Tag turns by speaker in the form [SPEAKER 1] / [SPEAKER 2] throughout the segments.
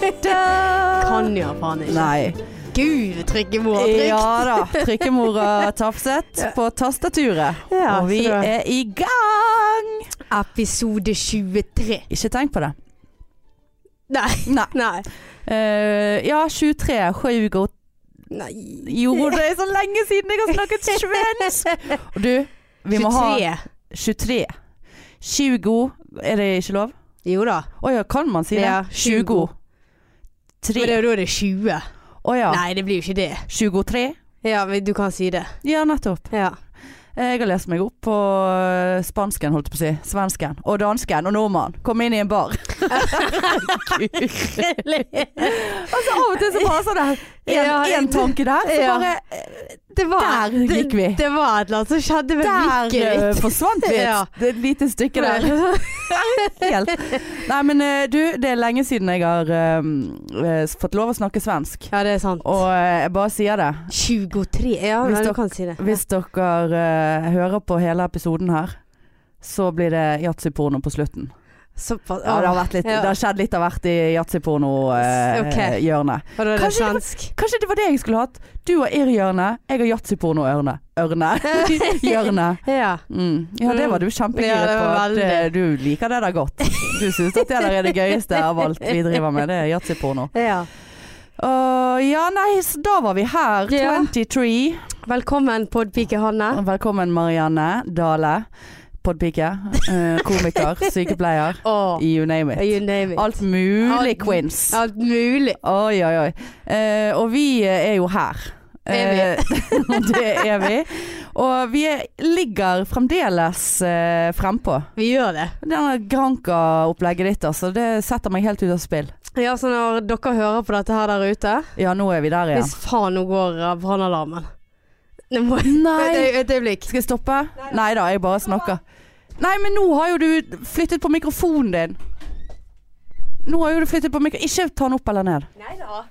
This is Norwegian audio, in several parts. [SPEAKER 1] Kan jo faen ikke.
[SPEAKER 2] Nei.
[SPEAKER 1] Gud, trikkemor har trykk.
[SPEAKER 2] Ja da. Trykkemora Tafset på tastaturet.
[SPEAKER 1] Ja,
[SPEAKER 2] og vi
[SPEAKER 1] så da-
[SPEAKER 2] er i gang!
[SPEAKER 1] Episode 23.
[SPEAKER 2] Ikke tenk på det.
[SPEAKER 1] Nei.
[SPEAKER 2] Nei.
[SPEAKER 1] Nei.
[SPEAKER 2] Eh, ja, 23. Sju godt
[SPEAKER 1] Nei.
[SPEAKER 2] Jo, det er så lenge siden jeg har snakket svensk! Og du, vi må ha 23.
[SPEAKER 1] 23.
[SPEAKER 2] 20 Er det ikke lov?
[SPEAKER 1] Jo da.
[SPEAKER 2] Å ja, kan man si det?
[SPEAKER 1] Ja,
[SPEAKER 2] 20.
[SPEAKER 1] Men det
[SPEAKER 2] 3.
[SPEAKER 1] er jo da det er 20.
[SPEAKER 2] Å ja.
[SPEAKER 1] Nei, det blir jo ikke det.
[SPEAKER 2] 23?
[SPEAKER 1] Ja, men du kan si det.
[SPEAKER 2] Ja, nettopp.
[SPEAKER 1] Ja.
[SPEAKER 2] Jeg har lest meg opp på eh, spansken, holdt jeg på å si. Svensken. Og dansken. Og nordmann. Kom inn i en bar. Herregud. Altså, av og til så bare sånn der en,
[SPEAKER 1] Ja,
[SPEAKER 2] en tanke der, så
[SPEAKER 1] ja.
[SPEAKER 2] bare
[SPEAKER 1] Det var,
[SPEAKER 2] Der gikk vi.
[SPEAKER 1] Det, det var et eller annet som skjedde med
[SPEAKER 2] Der
[SPEAKER 1] blikket
[SPEAKER 2] eh,
[SPEAKER 1] mitt.
[SPEAKER 2] forsvant vi et
[SPEAKER 1] Ja.
[SPEAKER 2] det er et lite stykke der. Helt. Nei, men eh, du, det er lenge siden jeg har eh, eh, fått lov å snakke svensk.
[SPEAKER 1] Ja, det er sant.
[SPEAKER 2] Og eh, jeg bare sier det.
[SPEAKER 1] 23. Ja,
[SPEAKER 2] Hvis
[SPEAKER 1] men du
[SPEAKER 2] dere-
[SPEAKER 1] kan si det.
[SPEAKER 2] Hvis dere eh, hører på hele episoden her, så blir det yatzyporno på slutten.
[SPEAKER 1] Såpass.
[SPEAKER 2] Ja, det, har vært litt,
[SPEAKER 1] Ja.
[SPEAKER 2] det har skjedd litt av hvert i
[SPEAKER 1] Ok.
[SPEAKER 2] yatzyporno-hjørnet.
[SPEAKER 1] Og da er det
[SPEAKER 2] Kanskje det var-
[SPEAKER 1] svensk.
[SPEAKER 2] Kanskje det var det jeg skulle hatt? Du har irr-hjørne, jeg har yatzyporno-ørne. Ørne. Hjørne.
[SPEAKER 1] Ja.
[SPEAKER 2] Mm. Ja, det var du
[SPEAKER 1] Ja,
[SPEAKER 2] kjempegiret
[SPEAKER 1] det
[SPEAKER 2] på.
[SPEAKER 1] var
[SPEAKER 2] at,
[SPEAKER 1] veldig.
[SPEAKER 2] eh, Du liker det der godt. Du syns at det der er det gøyeste av alt vi driver med, det er yatzyporno.
[SPEAKER 1] ja.
[SPEAKER 2] Uh, ja, nei, så da var vi her.
[SPEAKER 1] Ja.
[SPEAKER 2] 23.
[SPEAKER 1] Velkommen, podpike Hanne.
[SPEAKER 2] Velkommen Marianne Dale. Podpike. eh, komiker. Sykepleier.
[SPEAKER 1] Oh,
[SPEAKER 2] You name it.
[SPEAKER 1] you name it.
[SPEAKER 2] Alt mulig
[SPEAKER 1] Alt-
[SPEAKER 2] quins.
[SPEAKER 1] Alt mulig.
[SPEAKER 2] Oi, oi, oi. Eh, og vi eh, er jo her.
[SPEAKER 1] Er
[SPEAKER 2] Eh, det er vi. Og vi er, ligger fremdeles eh, frempå.
[SPEAKER 1] Vi gjør det.
[SPEAKER 2] Denne Granca-opplegget ditt, altså. Det setter meg helt ut av spill.
[SPEAKER 1] Ja, så når dere hører på dette her der ute
[SPEAKER 2] Ja, nå er vi der igjen.
[SPEAKER 1] Hvis faen nå går eh, brannalarmen. Det må
[SPEAKER 2] Nei.
[SPEAKER 1] Et, øy- et øyeblikk.
[SPEAKER 2] Skal jeg stoppe? Nei da, jeg bare snakker. Nei, men nå har jo du flyttet på mikrofonen din. Nå har jo du flyttet på mikrofonen. Ikke ta den opp eller ned.
[SPEAKER 1] Nei da.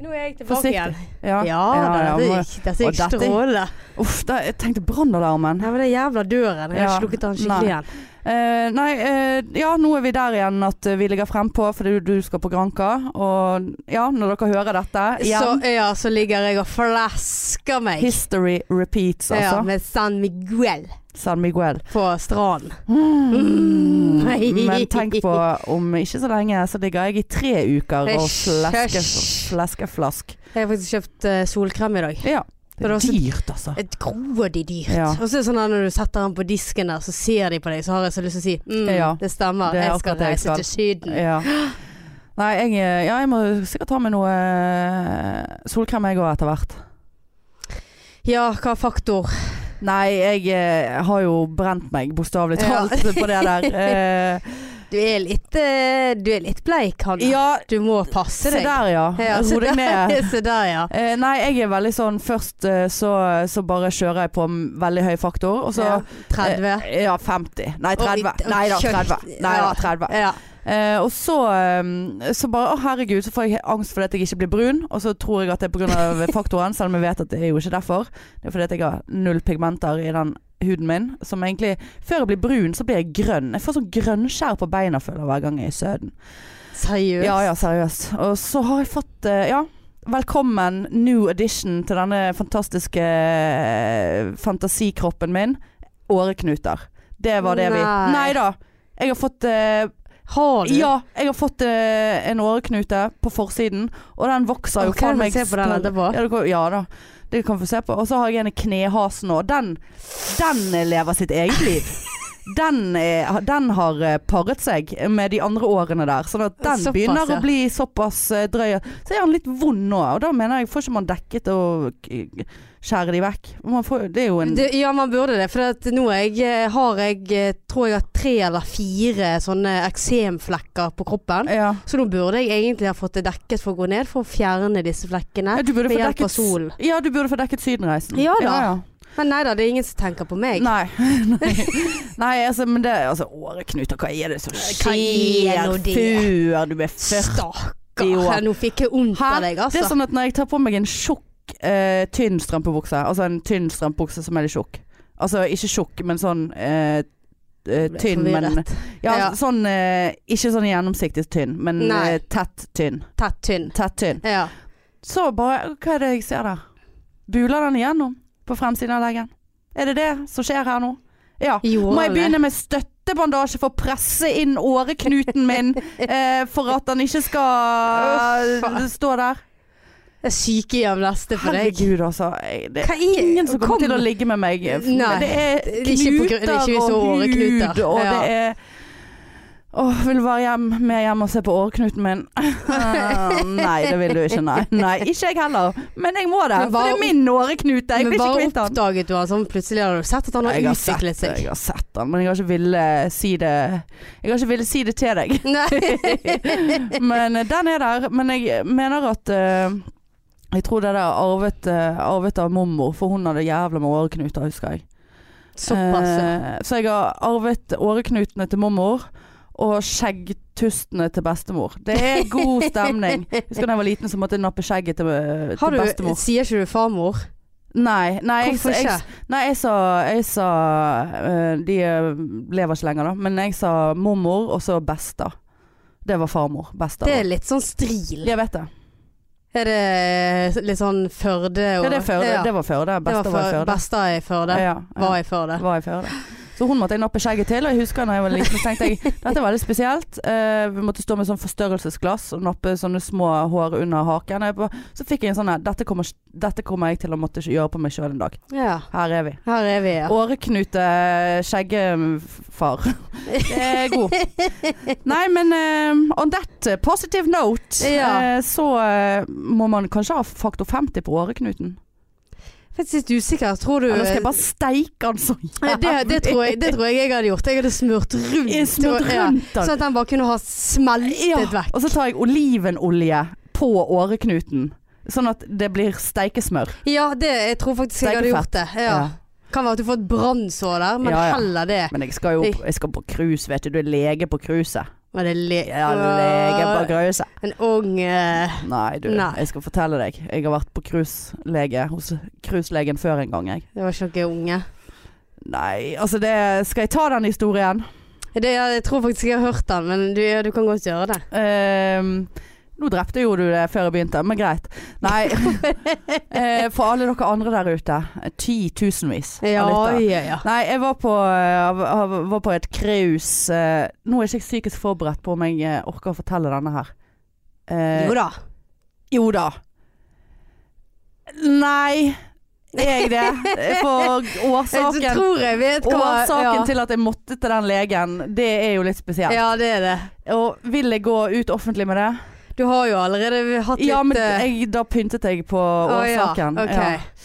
[SPEAKER 1] Nå er jeg
[SPEAKER 2] Forsiktig. Ja,
[SPEAKER 1] Ja,
[SPEAKER 2] ja,
[SPEAKER 1] det,
[SPEAKER 2] ja,
[SPEAKER 1] gikk, dette
[SPEAKER 2] og
[SPEAKER 1] gikk
[SPEAKER 2] dette-
[SPEAKER 1] strålende.
[SPEAKER 2] må- Uff, da, jeg tenkte brannalarmen.
[SPEAKER 1] Nei, men den jævla døren. Jeg har
[SPEAKER 2] Ja,
[SPEAKER 1] ikke lukket den
[SPEAKER 2] nei.
[SPEAKER 1] skikkelig igjen.
[SPEAKER 2] Eh, nei, eh, ja, nå er vi der igjen at eh, vi ligger frempå fordi du, du skal på Granka. Og ja, når dere hører dette
[SPEAKER 1] Så,
[SPEAKER 2] igjen
[SPEAKER 1] ja, så ligger jeg og flasker meg.
[SPEAKER 2] History repeats,
[SPEAKER 1] Ja,
[SPEAKER 2] altså.
[SPEAKER 1] med San Miguel
[SPEAKER 2] San Miguel.
[SPEAKER 1] på stranden.
[SPEAKER 2] Mm.
[SPEAKER 1] Mm.
[SPEAKER 2] Men tenk på om ikke så lenge, så ligger jeg i tre uker og fleske,
[SPEAKER 1] Hysj.
[SPEAKER 2] fleskeflask.
[SPEAKER 1] Jeg har faktisk kjøpt eh, solkrem i dag.
[SPEAKER 2] Ja.
[SPEAKER 1] Det er
[SPEAKER 2] Det er
[SPEAKER 1] også-
[SPEAKER 2] dyrt, altså.
[SPEAKER 1] Et grådig dyrt.
[SPEAKER 2] Ja.
[SPEAKER 1] Og så er det sånn at når du setter den på disken der, så ser de på deg, så har jeg så lyst til å si mm,
[SPEAKER 2] Ja,
[SPEAKER 1] det stemmer,
[SPEAKER 2] det er
[SPEAKER 1] jeg skal
[SPEAKER 2] akkurat det jeg
[SPEAKER 1] reise
[SPEAKER 2] skal.
[SPEAKER 1] til Syden.
[SPEAKER 2] Ja. Nei, jeg, ja, jeg må sikkert ta med noe eh, solkrem jeg òg etter hvert.
[SPEAKER 1] Ja, hva faktor?
[SPEAKER 2] Nei, jeg eh, har jo brent meg bokstavelig
[SPEAKER 1] Ja.
[SPEAKER 2] talt på det der. Eh,
[SPEAKER 1] Du er litt, eh, du er litt bleik, Hanne.
[SPEAKER 2] ja,
[SPEAKER 1] Du må passe
[SPEAKER 2] se
[SPEAKER 1] deg.
[SPEAKER 2] der ja. Altså, Ro
[SPEAKER 1] Ja, se
[SPEAKER 2] deg ned.
[SPEAKER 1] der, se der, ja.
[SPEAKER 2] Eh, nei, jeg er veldig sånn Først eh, så, så bare kjører jeg på m- veldig høy faktor, og så
[SPEAKER 1] Ja, 30.
[SPEAKER 2] Eh, ja, 50. Nei, 30.
[SPEAKER 1] Og i- og
[SPEAKER 2] Nei da,
[SPEAKER 1] kjøtt.
[SPEAKER 2] 30. Nei, da,
[SPEAKER 1] Ja.
[SPEAKER 2] 30.
[SPEAKER 1] Ja.
[SPEAKER 2] Eh, og så, eh, så bare Å, herregud, så får jeg angst fordi at jeg ikke blir brun. Og så tror jeg at det er pga. faktoren, selv om jeg vet at det er jo ikke derfor. Det er fordi at jeg har null pigmenter i den huden min. Som egentlig Før jeg blir brun, så blir jeg grønn. Jeg får sånn grønnskjær på beina, føler jeg, hver gang jeg er i Søden.
[SPEAKER 1] Seriøst.
[SPEAKER 2] Ja ja, seriøst. Og så har jeg fått eh, Ja. Velkommen, new edition til denne fantastiske eh, fantasikroppen min. Åreknuter. Det var det vi
[SPEAKER 1] Nei.
[SPEAKER 2] Nei da. Jeg har fått eh,
[SPEAKER 1] Har du?
[SPEAKER 2] ja, jeg har fått eh, en åreknute på forsiden, og den vokser jo
[SPEAKER 1] Ok, vi får se på den
[SPEAKER 2] snart-
[SPEAKER 1] etterpå.
[SPEAKER 2] Ja, du kan, ja da, det kan vi få se på. Og så har jeg en i knehasen òg. Den, den lever sitt eget liv. Den, er, den har eh, paret seg med de andre årene der, sånn at den
[SPEAKER 1] Såpass,
[SPEAKER 2] begynner
[SPEAKER 1] ja.
[SPEAKER 2] å bli såpass eh, drøy. Så er han litt vond nå, og da mener jeg får ikke man dekket og k- skjære de vekk. Man får, det er jo en
[SPEAKER 1] Det, ja, man burde det. For at nå er jeg, eh, har jeg eh, tror jeg har tre eller fire sånne eksemflekker på kroppen.
[SPEAKER 2] ja.
[SPEAKER 1] Så nå burde jeg egentlig ha fått det dekket for å gå ned for å fjerne disse flekkene.
[SPEAKER 2] Ja, du burde få
[SPEAKER 1] Med hjelp av
[SPEAKER 2] dekket,
[SPEAKER 1] solen.
[SPEAKER 2] ja, du burde få dekket Sydenreisen.
[SPEAKER 1] Ja da.
[SPEAKER 2] ja.
[SPEAKER 1] Men nei da, det er ingen som tenker på meg.
[SPEAKER 2] Nei. Nei, Nei altså, men det altså, Åreknuter, hva er det som
[SPEAKER 1] Hva
[SPEAKER 2] skjer
[SPEAKER 1] er nå det?
[SPEAKER 2] før du er 40
[SPEAKER 1] Stakkar.
[SPEAKER 2] år?
[SPEAKER 1] Nå fikk jeg vondt av deg,
[SPEAKER 2] Det
[SPEAKER 1] altså.
[SPEAKER 2] er sånn at når jeg tar på meg en tjukk, eh, tynn strømpebukse, altså en tynn strømpebukse som er litt tjukk Altså ikke tjukk, men sånn eh, eh,
[SPEAKER 1] Ble
[SPEAKER 2] tynn, men
[SPEAKER 1] forvirret.
[SPEAKER 2] ja,
[SPEAKER 1] Ja.
[SPEAKER 2] Sånn eh, Ikke sånn gjennomsiktig tynn, men
[SPEAKER 1] Nei.
[SPEAKER 2] eh, tett tynn.
[SPEAKER 1] Tett tynn.
[SPEAKER 2] Tett tynn.
[SPEAKER 1] Ja.
[SPEAKER 2] Så bare Hva er det jeg ser der? Buler den igjennom på fremsiden av leggen? Er det det som skjer her nå? Ja.
[SPEAKER 1] Gjorde
[SPEAKER 2] Må jeg
[SPEAKER 1] han det?
[SPEAKER 2] begynne med støttebandasje for å presse inn åreknuten min eh, for at den ikke skal eh,
[SPEAKER 1] Å, faen.
[SPEAKER 2] stå der?
[SPEAKER 1] Det er sykehjem neste for deg.
[SPEAKER 2] Herregud, altså. Jeg- Det
[SPEAKER 1] Hva
[SPEAKER 2] er
[SPEAKER 1] er
[SPEAKER 2] ingen som kommer
[SPEAKER 1] kom-
[SPEAKER 2] til å ligge med meg.
[SPEAKER 1] Nei,
[SPEAKER 2] Men det er
[SPEAKER 1] det er ikke på grunn- det er
[SPEAKER 2] knuter
[SPEAKER 1] ikke hvis
[SPEAKER 2] og
[SPEAKER 1] åreknuter.
[SPEAKER 2] hud, og
[SPEAKER 1] Ja.
[SPEAKER 2] det er Åh, vil du være hjem, med hjem og se på åreknuten min? Ah, nei, det vil du ikke. Nei, Nei, ikke jeg heller. Men jeg må det.
[SPEAKER 1] Men
[SPEAKER 2] For det
[SPEAKER 1] bare
[SPEAKER 2] er min åreknute. Jeg
[SPEAKER 1] Men
[SPEAKER 2] blir ikke
[SPEAKER 1] bare
[SPEAKER 2] kvitt den.
[SPEAKER 1] oppdaget du han sånn plutselig hadde du sett at han har
[SPEAKER 2] Jeg har sett
[SPEAKER 1] utviklet
[SPEAKER 2] det,
[SPEAKER 1] seg.
[SPEAKER 2] Jeg har sett den, men jeg har ikke villet si det Jeg har ikke villet si det til deg. men eh, den er der. Men jeg mener at eh, Jeg tror det der er arvet, eh, arvet av mormor, for hun hadde jævla med åreknuter, husker jeg.
[SPEAKER 1] Såpass. ja.
[SPEAKER 2] Eh, så jeg har arvet åreknutene til mormor. Og skjeggtustene til bestemor. Det er god stemning. Husker da jeg var liten, så måtte jeg nappe skjegget til, eh, til
[SPEAKER 1] Har du,
[SPEAKER 2] bestemor.
[SPEAKER 1] sier ikke du farmor?
[SPEAKER 2] Nei, nei jeg,
[SPEAKER 1] Hvorfor
[SPEAKER 2] jeg,
[SPEAKER 1] ikke?
[SPEAKER 2] Nei, jeg sa, jeg sa eh, De eh, lever ikke lenger, da. Men jeg sa mormor, og så besta. Det var farmor. Besta.
[SPEAKER 1] Det
[SPEAKER 2] var-
[SPEAKER 1] er litt sånn stril.
[SPEAKER 2] Jeg vet det.
[SPEAKER 1] Er det litt sånn Førde og
[SPEAKER 2] Ja, det, er Førde. det var Førde.
[SPEAKER 1] Det
[SPEAKER 2] Besta
[SPEAKER 1] var
[SPEAKER 2] var i
[SPEAKER 1] Før-
[SPEAKER 2] Førde.
[SPEAKER 1] Besta i Førde.
[SPEAKER 2] Ja, ja.
[SPEAKER 1] Var i Førde.
[SPEAKER 2] Var i Førde. Så hun måtte jeg nappe skjegget til, og jeg husker da jeg var liten, så tenkte jeg dette er veldig spesielt. Eh, vi måtte stå med sånn forstørrelsesglass og nappe sånne små hår under haken. Jeg bare- Så fikk jeg en sånn her dette, kommer- dette kommer jeg til å måtte gjøre på meg sjøl en dag.
[SPEAKER 1] Ja.
[SPEAKER 2] Her er vi.
[SPEAKER 1] Her er vi, ja.
[SPEAKER 2] Åreknute skjeggefar. Det er god. Nei, men eh, on that positive note,
[SPEAKER 1] Ja.
[SPEAKER 2] eh, så eh, må man kanskje ha faktor 50 på åreknuten.
[SPEAKER 1] Faktisk litt usikker. Tror du
[SPEAKER 2] Eller skal jeg bare steike den så
[SPEAKER 1] Nei,
[SPEAKER 2] jævlig?
[SPEAKER 1] det, det, tror jeg, det tror jeg jeg hadde gjort. Jeg hadde smurt rundt.
[SPEAKER 2] Jeg Smurt
[SPEAKER 1] Ja.
[SPEAKER 2] rundt
[SPEAKER 1] Sånn
[SPEAKER 2] den.
[SPEAKER 1] at den bare kunne ha smeltet
[SPEAKER 2] Ja.
[SPEAKER 1] vekk.
[SPEAKER 2] Og så tar jeg olivenolje på åreknuten. Sånn at det blir steikesmør.
[SPEAKER 1] Ja, det, jeg tror faktisk jeg hadde gjort det. Ja. Kan være at du får et brannsår der, men
[SPEAKER 2] Ja, ja.
[SPEAKER 1] heller det.
[SPEAKER 2] Men jeg skal jo på- jeg skal på cruise, vet du. Du er lege på cruiset.
[SPEAKER 1] Men det er le
[SPEAKER 2] Ja, lege på cruiset.
[SPEAKER 1] En ung eh,
[SPEAKER 2] Nei, du,
[SPEAKER 1] Nei.
[SPEAKER 2] jeg skal fortelle deg. Jeg har vært på cruiselege hos cruiselegen før en gang, jeg.
[SPEAKER 1] Det var ikke noen unge.
[SPEAKER 2] Nei, altså det Skal jeg ta den historien?
[SPEAKER 1] Det, jeg tror faktisk jeg har hørt den, men du, ja, du kan godt gjøre det.
[SPEAKER 2] Ehm, nå drepte jo du det før jeg begynte, men greit. Nei. Eh, for alle dere andre der ute. Titusenvis av
[SPEAKER 1] Ja,
[SPEAKER 2] lyttere.
[SPEAKER 1] ja, ja.
[SPEAKER 2] Nei, jeg var på, eh, var på et cruise eh, Nå er ikke jeg psykisk forberedt på om jeg eh, orker å fortelle denne her. Eh,
[SPEAKER 1] Jo da.
[SPEAKER 2] Jo da. Nei, er jeg det? For
[SPEAKER 1] Jeg
[SPEAKER 2] årsaken,
[SPEAKER 1] tror jeg vet hva
[SPEAKER 2] årsaken
[SPEAKER 1] ja.
[SPEAKER 2] til at jeg måtte til den legen, det er jo litt spesielt.
[SPEAKER 1] Ja, det er det.
[SPEAKER 2] Og vil jeg gå ut offentlig med det?
[SPEAKER 1] Du har jo allerede vi har hatt litt
[SPEAKER 2] Ja, men
[SPEAKER 1] eh,
[SPEAKER 2] jeg, da pyntet jeg på
[SPEAKER 1] å,
[SPEAKER 2] årsaken.
[SPEAKER 1] Ja, ok.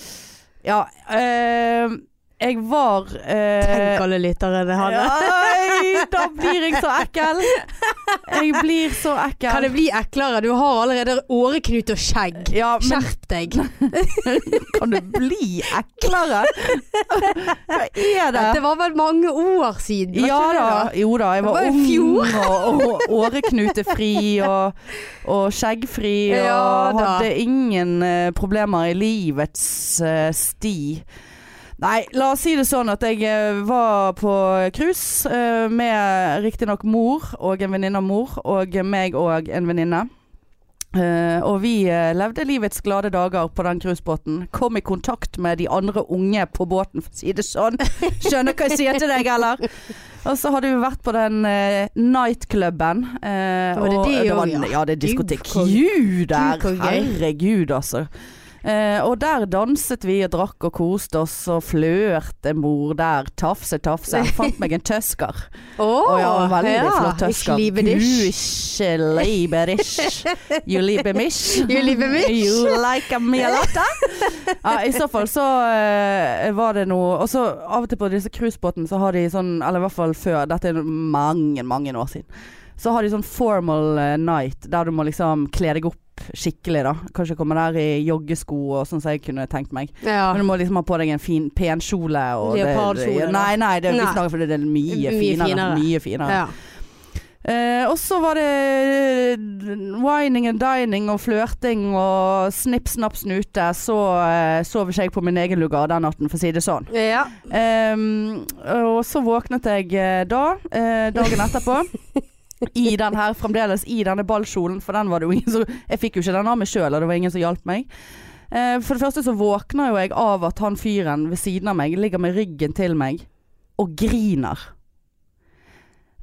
[SPEAKER 2] Ja, ja eh, jeg var eh,
[SPEAKER 1] Tenk alle lytterne hadde.
[SPEAKER 2] Oi, da blir jeg så ekkel. Jeg blir så ekkel.
[SPEAKER 1] Kan det bli eklere? Du har allerede åreknut og skjegg.
[SPEAKER 2] ja, men
[SPEAKER 1] Skjerp deg.
[SPEAKER 2] kan du bli eklere? Hva er det?
[SPEAKER 1] Dette var vel mange år siden? var
[SPEAKER 2] Ja
[SPEAKER 1] ikke det
[SPEAKER 2] da, jo da. Jeg
[SPEAKER 1] Det
[SPEAKER 2] var,
[SPEAKER 1] var i
[SPEAKER 2] ung
[SPEAKER 1] fjor.
[SPEAKER 2] og, og åreknutefri og, og skjeggfri og
[SPEAKER 1] Ja da.
[SPEAKER 2] hadde ingen eh, problemer i livets eh, sti. Nei, la oss si det sånn at jeg eh, var på cruise eh, med riktignok mor og en venninne av mor, og meg og en venninne. Eh, og vi eh, levde livets glade dager på den cruisebåten. Kom i kontakt med de andre unge på båten, for å si det sånn. Skjønner hva jeg sier til deg, eller? Og så hadde vi vært på den eh, nightcluben. eh,
[SPEAKER 1] Var det
[SPEAKER 2] og
[SPEAKER 1] det
[SPEAKER 2] det
[SPEAKER 1] også,
[SPEAKER 2] var,
[SPEAKER 1] ja?
[SPEAKER 2] ja, det er diskotek
[SPEAKER 1] Gud, hvor-
[SPEAKER 2] Q der.
[SPEAKER 1] Gud, hvor gøy.
[SPEAKER 2] Herregud, altså. Eh, og der danset vi og drakk og koste oss og flørte mor der. Tafse, tafse. Fant meg en tøsker.
[SPEAKER 1] Å,
[SPEAKER 2] Å ja, veldig
[SPEAKER 1] ja.
[SPEAKER 2] flott tøsker.
[SPEAKER 1] Ich liebe dich.
[SPEAKER 2] Gusje, liberish. You liebe mich.
[SPEAKER 1] You liebe mich.
[SPEAKER 2] You like me a lot. eh? Ja, I så fall så eh, var det noe Og så av og til på disse cruisebåtene så har de sånn, eller i hvert fall før, dette er mange, mange år siden, så har de sånn formal eh, night der du må liksom kle deg opp skikkelig, da. Kanskje komme der i joggesko og sånn som jeg kunne tenkt meg.
[SPEAKER 1] Ja.
[SPEAKER 2] Men du må liksom ha på deg en fin, pen kjole. og det-
[SPEAKER 1] Leopardkjole, da.
[SPEAKER 2] Nei, nei, det, vi
[SPEAKER 1] Nei.
[SPEAKER 2] snakker fordi det er mye,
[SPEAKER 1] Mye
[SPEAKER 2] finere.
[SPEAKER 1] finere.
[SPEAKER 2] Mye finere.
[SPEAKER 1] ja.
[SPEAKER 2] Eh, og så var det wining and dining og flørting og snipp, snapp, snute. Så eh, sov ikke jeg på min egen lugar den natten, for å si det sånn.
[SPEAKER 1] Ja.
[SPEAKER 2] Ehm, og så våknet jeg eh, da, eh, dagen etterpå. I den her, fremdeles i denne ballkjolen, for den var det jo ingen som Jeg fikk jo ikke den av meg sjøl, og det var ingen som hjalp meg. Eh, for det første så våkner jo jeg av at han fyren ved siden av meg ligger med ryggen til meg og griner.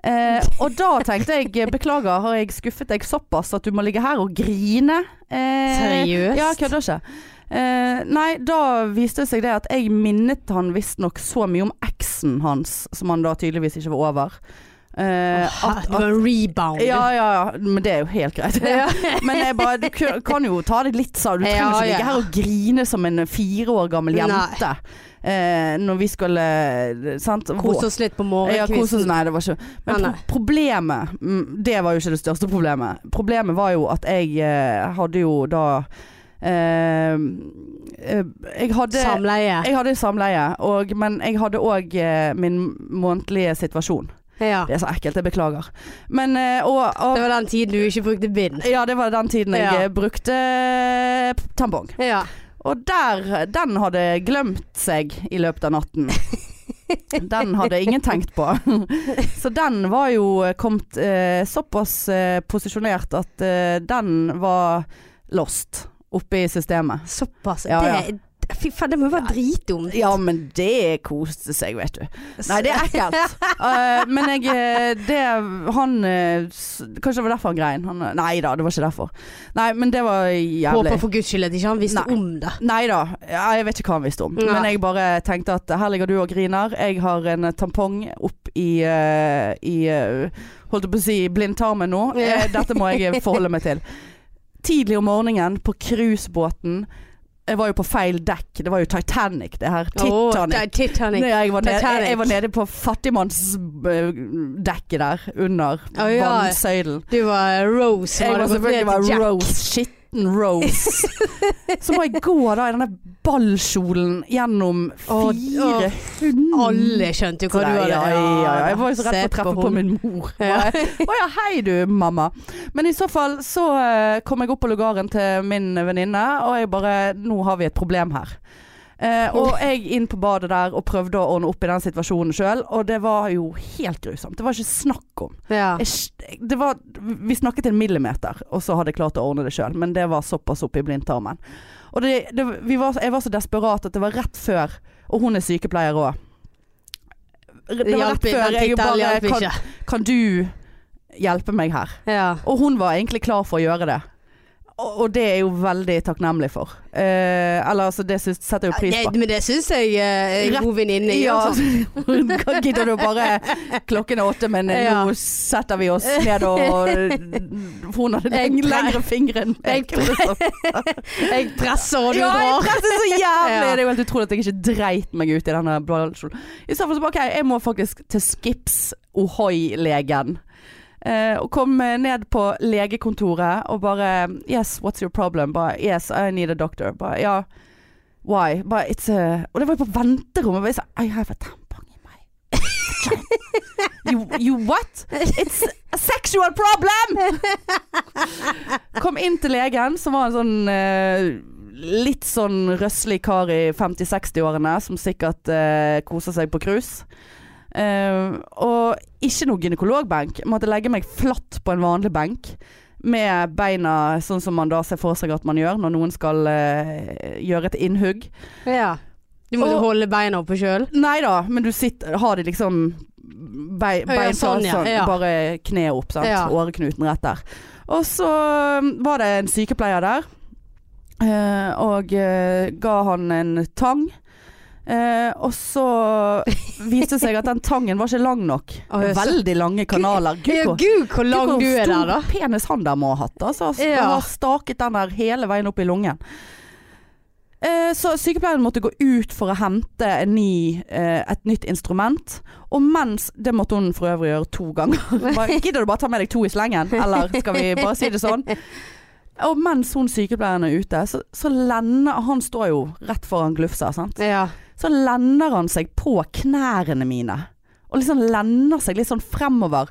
[SPEAKER 2] Eh, og da tenkte jeg beklager, har jeg skuffet deg såpass at du må ligge her og grine? Eh,
[SPEAKER 1] Seriøst?
[SPEAKER 2] Ja, jeg kødder ikke. Eh, nei, da viste det seg det at jeg minnet han visstnok så mye om eksen hans, som han da tydeligvis ikke var over. Eh,
[SPEAKER 1] Åh, det var en rebound.
[SPEAKER 2] ja, ja, ja, men det er jo helt greit.
[SPEAKER 1] Ja.
[SPEAKER 2] Men jeg bare, du kun- kan jo ta det litt, sa du. Du trenger
[SPEAKER 1] Ja,
[SPEAKER 2] ikke
[SPEAKER 1] ja.
[SPEAKER 2] ligge her og grine som en fire år gammel
[SPEAKER 1] Nei.
[SPEAKER 2] jente. Eh, når vi skulle eh, sant?
[SPEAKER 1] Kose oss litt på
[SPEAKER 2] Ja, kos oss.
[SPEAKER 1] morgenkvisten.
[SPEAKER 2] Nei, det var ikke Men
[SPEAKER 1] Nei, nei.
[SPEAKER 2] pro problemet mm, Det var jo ikke det største problemet. Problemet var jo at jeg eh, hadde jo da eh, eh, Jeg hadde
[SPEAKER 1] Samleie.
[SPEAKER 2] jeg hadde samleie, og, men jeg hadde òg eh, min månedlige situasjon.
[SPEAKER 1] Ja.
[SPEAKER 2] Det er så ekkelt, jeg beklager. Men, eh, og, og,
[SPEAKER 1] Det var den tiden du ikke brukte bind.
[SPEAKER 2] ja, det var den tiden jeg
[SPEAKER 1] Ja.
[SPEAKER 2] eh, brukte eh, tampong.
[SPEAKER 1] Ja.
[SPEAKER 2] Og der, den hadde glemt seg i løpet av natten. Den hadde ingen tenkt på. Så den var jo kommet eh, såpass eh, posisjonert at eh, den var lost oppe i systemet.
[SPEAKER 1] Såpass.
[SPEAKER 2] Ja, ja.
[SPEAKER 1] Det, fy faen, det må jo være dritdumt.
[SPEAKER 2] Ja, men det koste seg, vet du. Nei, det er ekkelt. Eh, men jeg eh, Det Han eh, s- Kanskje det var derfor han grein. Han, eh, nei da, det var ikke derfor. Nei, men det var jævlig.
[SPEAKER 1] Håper for guds skyld at ikke han visste
[SPEAKER 2] Nei.
[SPEAKER 1] om det.
[SPEAKER 2] Nei da, ja, jeg vet ikke hva han visste om.
[SPEAKER 1] Nei.
[SPEAKER 2] Men jeg bare tenkte at her ligger du og griner. Jeg har en eh, tampong opp i, eh, i eh, Holdt jeg på å si blindtarmen nå.
[SPEAKER 1] Ja.
[SPEAKER 2] Eh, Dette må jeg eh, forholde meg til. Tidlig om morgenen på cruisebåten. Jeg var jo på feil dekk. Det var jo Titanic, det her.
[SPEAKER 1] Åh,
[SPEAKER 2] Titanic.
[SPEAKER 1] det er Titanic.
[SPEAKER 2] Nei, jeg, var nede, jeg,
[SPEAKER 1] Titanic.
[SPEAKER 2] jeg var nede på fattigmannsdekket der, under
[SPEAKER 1] Å, ja.
[SPEAKER 2] vannsøylen.
[SPEAKER 1] Du var Rose.
[SPEAKER 2] Jeg var
[SPEAKER 1] hadde gått
[SPEAKER 2] selvfølgelig
[SPEAKER 1] ned til
[SPEAKER 2] var
[SPEAKER 1] Jack.
[SPEAKER 2] Rose. Skitten Rose. Så må jeg gå da i denne ballkjolen gjennom
[SPEAKER 1] Å,
[SPEAKER 2] 400
[SPEAKER 1] Alle skjønte jo hva du
[SPEAKER 2] Ja,
[SPEAKER 1] hadde.
[SPEAKER 2] ja, ja, ja. Jeg var jo så redd for å
[SPEAKER 1] Se
[SPEAKER 2] treffe på,
[SPEAKER 1] hun.
[SPEAKER 2] min mor. Å
[SPEAKER 1] Ja.
[SPEAKER 2] ja, hei du, mamma. Men i så fall så eh, kom jeg opp på lugaren til min venninne, og jeg bare Nå har vi et problem her. Eh, og jeg inn på badet der og prøvde å ordne opp i den situasjonen sjøl, og det var jo helt grusomt. Det var ikke snakk om.
[SPEAKER 1] Ja.
[SPEAKER 2] Jeg- Det var, vi snakket en millimeter, og så hadde jeg klart å ordne det sjøl. Men det var såpass oppe i blindtarmen. Og det, det, vi var, jeg var så desperat at det var rett før Og hun er sykepleier òg. Det var
[SPEAKER 1] Hjalp
[SPEAKER 2] rett
[SPEAKER 1] i-
[SPEAKER 2] før
[SPEAKER 1] den
[SPEAKER 2] jeg
[SPEAKER 1] tittelen
[SPEAKER 2] bare
[SPEAKER 1] hjalp
[SPEAKER 2] kan,
[SPEAKER 1] ikke.
[SPEAKER 2] kan du hjelpe meg her?
[SPEAKER 1] Ja.
[SPEAKER 2] Og hun var egentlig klar for å gjøre det. Og, og det er jeg jo veldig takknemlig for. Eh, eller altså, det syns- setter jeg jo pris på.
[SPEAKER 1] Nei, men det syns jeg eh, en
[SPEAKER 2] Rett-
[SPEAKER 1] god venninne gjør.
[SPEAKER 2] Ja,
[SPEAKER 1] sånn.
[SPEAKER 2] hva gidder du bare Klokken er åtte, men
[SPEAKER 1] Ja.
[SPEAKER 2] nå setter vi oss ned og Hun hadde
[SPEAKER 1] Jeg
[SPEAKER 2] leng-
[SPEAKER 1] pre-
[SPEAKER 2] lengre fingre enn meg. liksom.
[SPEAKER 1] Jeg presser og du
[SPEAKER 2] Ja, jeg
[SPEAKER 1] drar.
[SPEAKER 2] presset så jævlig!
[SPEAKER 1] Ja.
[SPEAKER 2] Det er jo helt utrolig at jeg ikke dreit meg ut i denne bladkjolen. I så fall så bare OK, jeg må faktisk til Skips Ohoi-legen. Eh, og kom eh, ned på legekontoret og bare Yes, what's your problem? Bare Yes, I need a doctor. Bare ja. Why? Bare it's a Og det var jo på venterommet. Bare, jeg sa, I have a tampon in my you, you what? It's a sexual problem! Kom inn til legen, som var en sånn eh, litt sånn røslig kar i 50-60-årene, som sikkert eh, koser seg på cruise. Eh, og ikke noe gynekologbenk. Måtte legge meg flatt på en vanlig benk. Med beina sånn som man da ser for seg at man gjør når noen skal eh, gjøre et innhugg.
[SPEAKER 1] Ja. Du måtte
[SPEAKER 2] Og-
[SPEAKER 1] holde beina oppe sjøl.
[SPEAKER 2] Nei da, men du sitter, har de liksom bei,
[SPEAKER 1] Ja, ja,
[SPEAKER 2] bein sånn,
[SPEAKER 1] sånn, ja, ja.
[SPEAKER 2] bare kneet opp, sant?
[SPEAKER 1] Ja.
[SPEAKER 2] Åreknuten rett der. Og så um, var det en sykepleier der, eh, og eh, ga han en tang. Eh, og så viste det seg at den tangen var ikke lang nok.
[SPEAKER 1] Å, jeg så-
[SPEAKER 2] Veldig lange kanaler.
[SPEAKER 1] Ja,
[SPEAKER 2] hvor-
[SPEAKER 1] gud, hvor lang
[SPEAKER 2] Gud,
[SPEAKER 1] du er der, da.
[SPEAKER 2] Hvor stor penis han der må ha hatt. Altså. Han
[SPEAKER 1] Ja.
[SPEAKER 2] har staket den der hele veien opp i lungen. Eh, Så sykepleieren måtte gå ut for å hente en ny, eh, et nytt instrument. Og mens Det måtte hun for øvrig gjøre to ganger. Bare, Gidder du bare ta med deg to i slengen, eller skal vi bare si det sånn? Og mens hun sykepleieren er ute, så, så lender Han står jo rett foran glufsa, sant.
[SPEAKER 1] Ja.
[SPEAKER 2] Så lender han seg på knærne mine. Og liksom lender seg litt sånn fremover.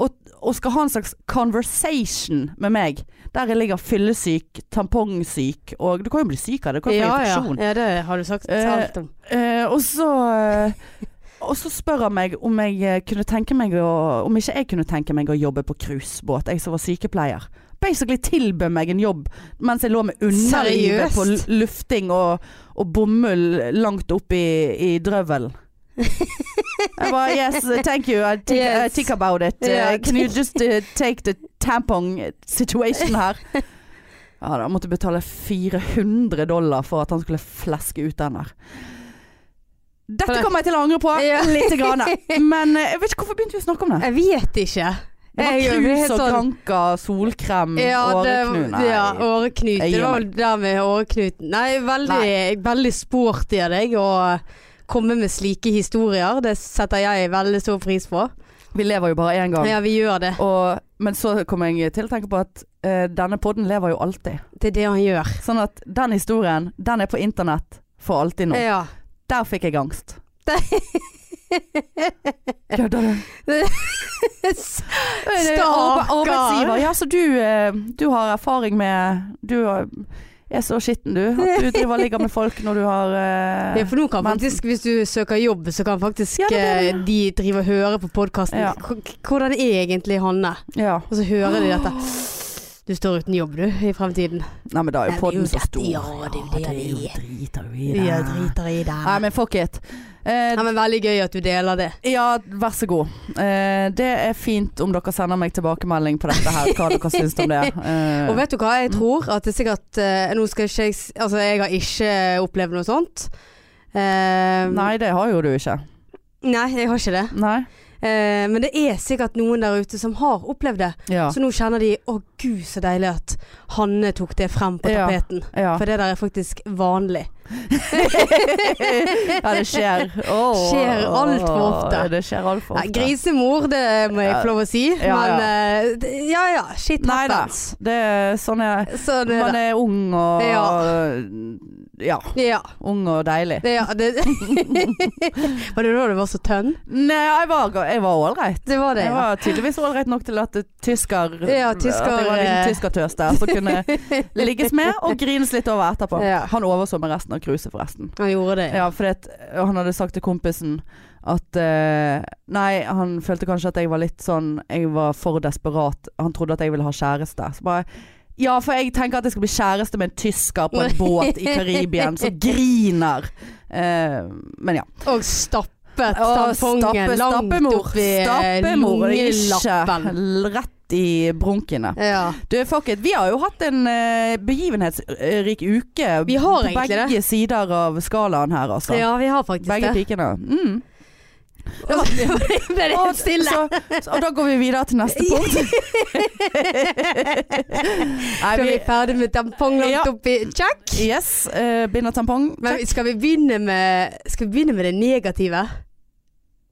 [SPEAKER 2] Og, og skal ha en slags conversation med meg, der jeg ligger fyllesyk, tampongsyk, og du kan jo bli syk av det, du kan jo få
[SPEAKER 1] ja, ja.
[SPEAKER 2] infeksjon.
[SPEAKER 1] ja, det har du sagt alt om.
[SPEAKER 2] Eh, og så eh, Og så spør han meg om jeg eh, kunne tenke meg å Om ikke jeg kunne tenke meg å jobbe på cruisebåt, jeg som var sykepleier. Basically tilbød meg en jobb mens jeg lå med underlivet
[SPEAKER 1] Seriøst?
[SPEAKER 2] på lu- lufting og, og bomull langt opp i, i drøvelen. Jeg bare Yes, thank you. I think, I
[SPEAKER 1] Yes.
[SPEAKER 2] think about it.
[SPEAKER 1] Ja.
[SPEAKER 2] Eh, can you just eh, take the tampon situation her? Ja, da måtte jeg betale 400 dollar for at han skulle fleske ut den der. Dette kommer jeg til å angre på
[SPEAKER 1] Ja.
[SPEAKER 2] lite grann. Men eh, jeg vet ikke hvorfor begynte vi å snakke om det.
[SPEAKER 1] Jeg vet ikke.
[SPEAKER 2] Det var
[SPEAKER 1] Jeg- det er
[SPEAKER 2] krus
[SPEAKER 1] helt
[SPEAKER 2] og
[SPEAKER 1] sånn-
[SPEAKER 2] granka, solkrem,
[SPEAKER 1] Ja,
[SPEAKER 2] åreknut.
[SPEAKER 1] det- Ja,
[SPEAKER 2] Mm, Nei.
[SPEAKER 1] åreknut.
[SPEAKER 2] Jeg
[SPEAKER 1] Det
[SPEAKER 2] gir
[SPEAKER 1] var vel det med åreknuten. Nei, veldig, veldig sporty av deg å komme med slike historier. Det setter jeg veldig stor pris på.
[SPEAKER 2] Vi lever jo bare én gang.
[SPEAKER 1] Ja, vi gjør det.
[SPEAKER 2] Og, men så kom jeg til å tenke på at eh, denne podden lever jo alltid.
[SPEAKER 1] Det er det han gjør.
[SPEAKER 2] Sånn at den historien, den er på internett for alltid nå.
[SPEAKER 1] Ja.
[SPEAKER 2] Der fikk jeg angst.
[SPEAKER 1] Det-
[SPEAKER 2] Kødder du?
[SPEAKER 1] Stakkar.
[SPEAKER 2] Arbeidsgiver. Ja, så du, eh, du har erfaring med Du har- er så skitten, du. At du driver og ligger med folk når du har eh,
[SPEAKER 1] Ja, for nå kan
[SPEAKER 2] Men-
[SPEAKER 1] faktisk, hvis du søker jobb, så kan faktisk
[SPEAKER 2] Ja, det er det.
[SPEAKER 1] eh, de drive og høre på podkasten.
[SPEAKER 2] Ja.
[SPEAKER 1] Hvordan er egentlig Hanne?
[SPEAKER 2] ja.
[SPEAKER 1] Og så hører de dette. Du står uten jobb, du, i fremtiden.
[SPEAKER 2] Nei, men da er
[SPEAKER 1] Nei,
[SPEAKER 2] jo
[SPEAKER 1] men
[SPEAKER 2] podden
[SPEAKER 1] jo,
[SPEAKER 2] så
[SPEAKER 1] dette-
[SPEAKER 2] stor.
[SPEAKER 1] ja, det er jo det
[SPEAKER 2] er jo
[SPEAKER 1] vi er.
[SPEAKER 2] driter jo i
[SPEAKER 1] Vi
[SPEAKER 2] det.
[SPEAKER 1] driter i det.
[SPEAKER 2] Nei, men fuck it. Eh,
[SPEAKER 1] Ja, men veldig gøy at du deler det.
[SPEAKER 2] ja, vær så god. Eh, det er fint om dere sender meg tilbakemelding på dette her, hva dere syns om det. Eh,
[SPEAKER 1] Og vet du hva, jeg tror at det sikkert eh, Nå skal ikke jeg s- Altså, jeg har ikke opplevd noe sånt. Eh,
[SPEAKER 2] nei, det har jo du ikke.
[SPEAKER 1] nei, jeg har ikke det.
[SPEAKER 2] Nei.
[SPEAKER 1] Eh, men det er sikkert noen der ute som har opplevd det.
[SPEAKER 2] Ja.
[SPEAKER 1] Så nå kjenner de Å gud, så deilig at Hanne tok det frem på
[SPEAKER 2] Ja.
[SPEAKER 1] tapeten.
[SPEAKER 2] ja.
[SPEAKER 1] For det der er faktisk vanlig.
[SPEAKER 2] ja, det skjer. Åh.
[SPEAKER 1] Skjer alt for ofte.
[SPEAKER 2] Ja, Det skjer alt for
[SPEAKER 1] Nei,
[SPEAKER 2] ofte.
[SPEAKER 1] grisemor, det må jeg
[SPEAKER 2] Ja.
[SPEAKER 1] få lov å si.
[SPEAKER 2] Ja, ja.
[SPEAKER 1] Men eh, det- ja ja, shit
[SPEAKER 2] Nei da.
[SPEAKER 1] happens.
[SPEAKER 2] Det er sånn jeg
[SPEAKER 1] Så det,
[SPEAKER 2] Man er ung og ja.
[SPEAKER 1] ja,
[SPEAKER 2] ung og deilig.
[SPEAKER 1] det, ja det. Var det da du var så tønn?
[SPEAKER 2] Nei, jeg var ga- jeg var ålreit.
[SPEAKER 1] Det var det,
[SPEAKER 2] Jeg
[SPEAKER 1] ja.
[SPEAKER 2] var tydeligvis ålreit nok til at tysker
[SPEAKER 1] Ja, tysker,
[SPEAKER 2] At jeg var en
[SPEAKER 1] eh.
[SPEAKER 2] liten tyskertøs der som kunne ligges med og grines litt over etterpå.
[SPEAKER 1] Ja.
[SPEAKER 2] Han overså med resten av cruiset, forresten.
[SPEAKER 1] Han gjorde det.
[SPEAKER 2] Ja, fordi at han hadde sagt til kompisen at eh, Nei, han følte kanskje at jeg var litt sånn Jeg var for desperat. Han trodde at jeg ville ha kjæreste. Så bare Ja, for jeg tenker at jeg skal bli kjæreste med en tysker på en båt i Karibien som griner. Eh, men ja.
[SPEAKER 1] Og stappet
[SPEAKER 2] Å,
[SPEAKER 1] tampongen langt
[SPEAKER 2] stappemor.
[SPEAKER 1] oppi eh,
[SPEAKER 2] Stappemor. det er
[SPEAKER 1] lungelappen.
[SPEAKER 2] Ikke rett i brunkene.
[SPEAKER 1] Ja.
[SPEAKER 2] Du, fuck it. Vi har jo hatt en eh, begivenhetsrik uke
[SPEAKER 1] Vi
[SPEAKER 2] på
[SPEAKER 1] har egentlig
[SPEAKER 2] begge sider av skalaen her, altså.
[SPEAKER 1] ja, vi har faktisk
[SPEAKER 2] Begge
[SPEAKER 1] det.
[SPEAKER 2] pikene. Mm.
[SPEAKER 1] Og så ble det helt stille.
[SPEAKER 2] Og, så, så, og da går vi videre til neste punkt. Nei,
[SPEAKER 1] Skal vi ferdig med tampong langt
[SPEAKER 2] Ja.
[SPEAKER 1] oppi Check!
[SPEAKER 2] vi Yes. eh, bind og tampong.
[SPEAKER 1] Men skal vi begynne med, skal vi begynne med det negative?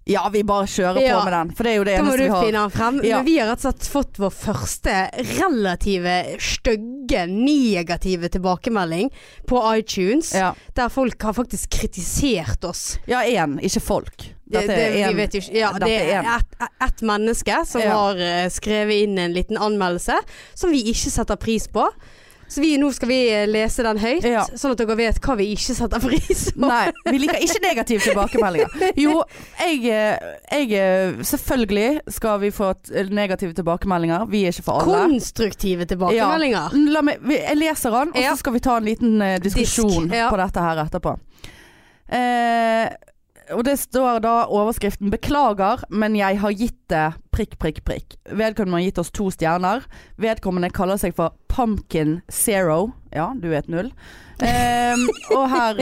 [SPEAKER 2] Ja, vi bare kjører
[SPEAKER 1] Ja.
[SPEAKER 2] på med den, for det er jo det
[SPEAKER 1] Da må
[SPEAKER 2] eneste
[SPEAKER 1] du
[SPEAKER 2] vi har.
[SPEAKER 1] finne den frem.
[SPEAKER 2] Ja.
[SPEAKER 1] Men vi har rett og slett fått vår første relative stygge, negative tilbakemelding på iTunes.
[SPEAKER 2] Ja.
[SPEAKER 1] Der folk har faktisk kritisert oss.
[SPEAKER 2] Ja, én, ikke folk.
[SPEAKER 1] Det,
[SPEAKER 2] Dette er
[SPEAKER 1] vi
[SPEAKER 2] en-
[SPEAKER 1] vet jo ikke. Ja,
[SPEAKER 2] dette
[SPEAKER 1] det
[SPEAKER 2] er
[SPEAKER 1] er
[SPEAKER 2] en.
[SPEAKER 1] ett ett menneske som
[SPEAKER 2] Ja.
[SPEAKER 1] har eh, skrevet inn en liten anmeldelse som vi ikke setter pris på. Så vi, nå skal vi eh, lese den høyt,
[SPEAKER 2] Ja.
[SPEAKER 1] sånn at dere vet hva vi ikke setter pris på.
[SPEAKER 2] Nei, vi liker ikke negative tilbakemeldinger. Jo, jeg, eh, jeg eh, Selvfølgelig skal vi få t- negative tilbakemeldinger. Vi er ikke for alle.
[SPEAKER 1] Konstruktive tilbakemeldinger.
[SPEAKER 2] La meg, vi- jeg leser den, og
[SPEAKER 1] Ja.
[SPEAKER 2] så skal vi ta en liten eh, diskusjon
[SPEAKER 1] Disk, ja.
[SPEAKER 2] på dette her etterpå. Eh, og det står da overskriften 'Beklager, men jeg har gitt det prikk, prikk, prikk'. Vedkommende har gitt oss to stjerner. Vedkommende kaller seg for Pumpkin Zero. Ja, du er et null. Eh, og her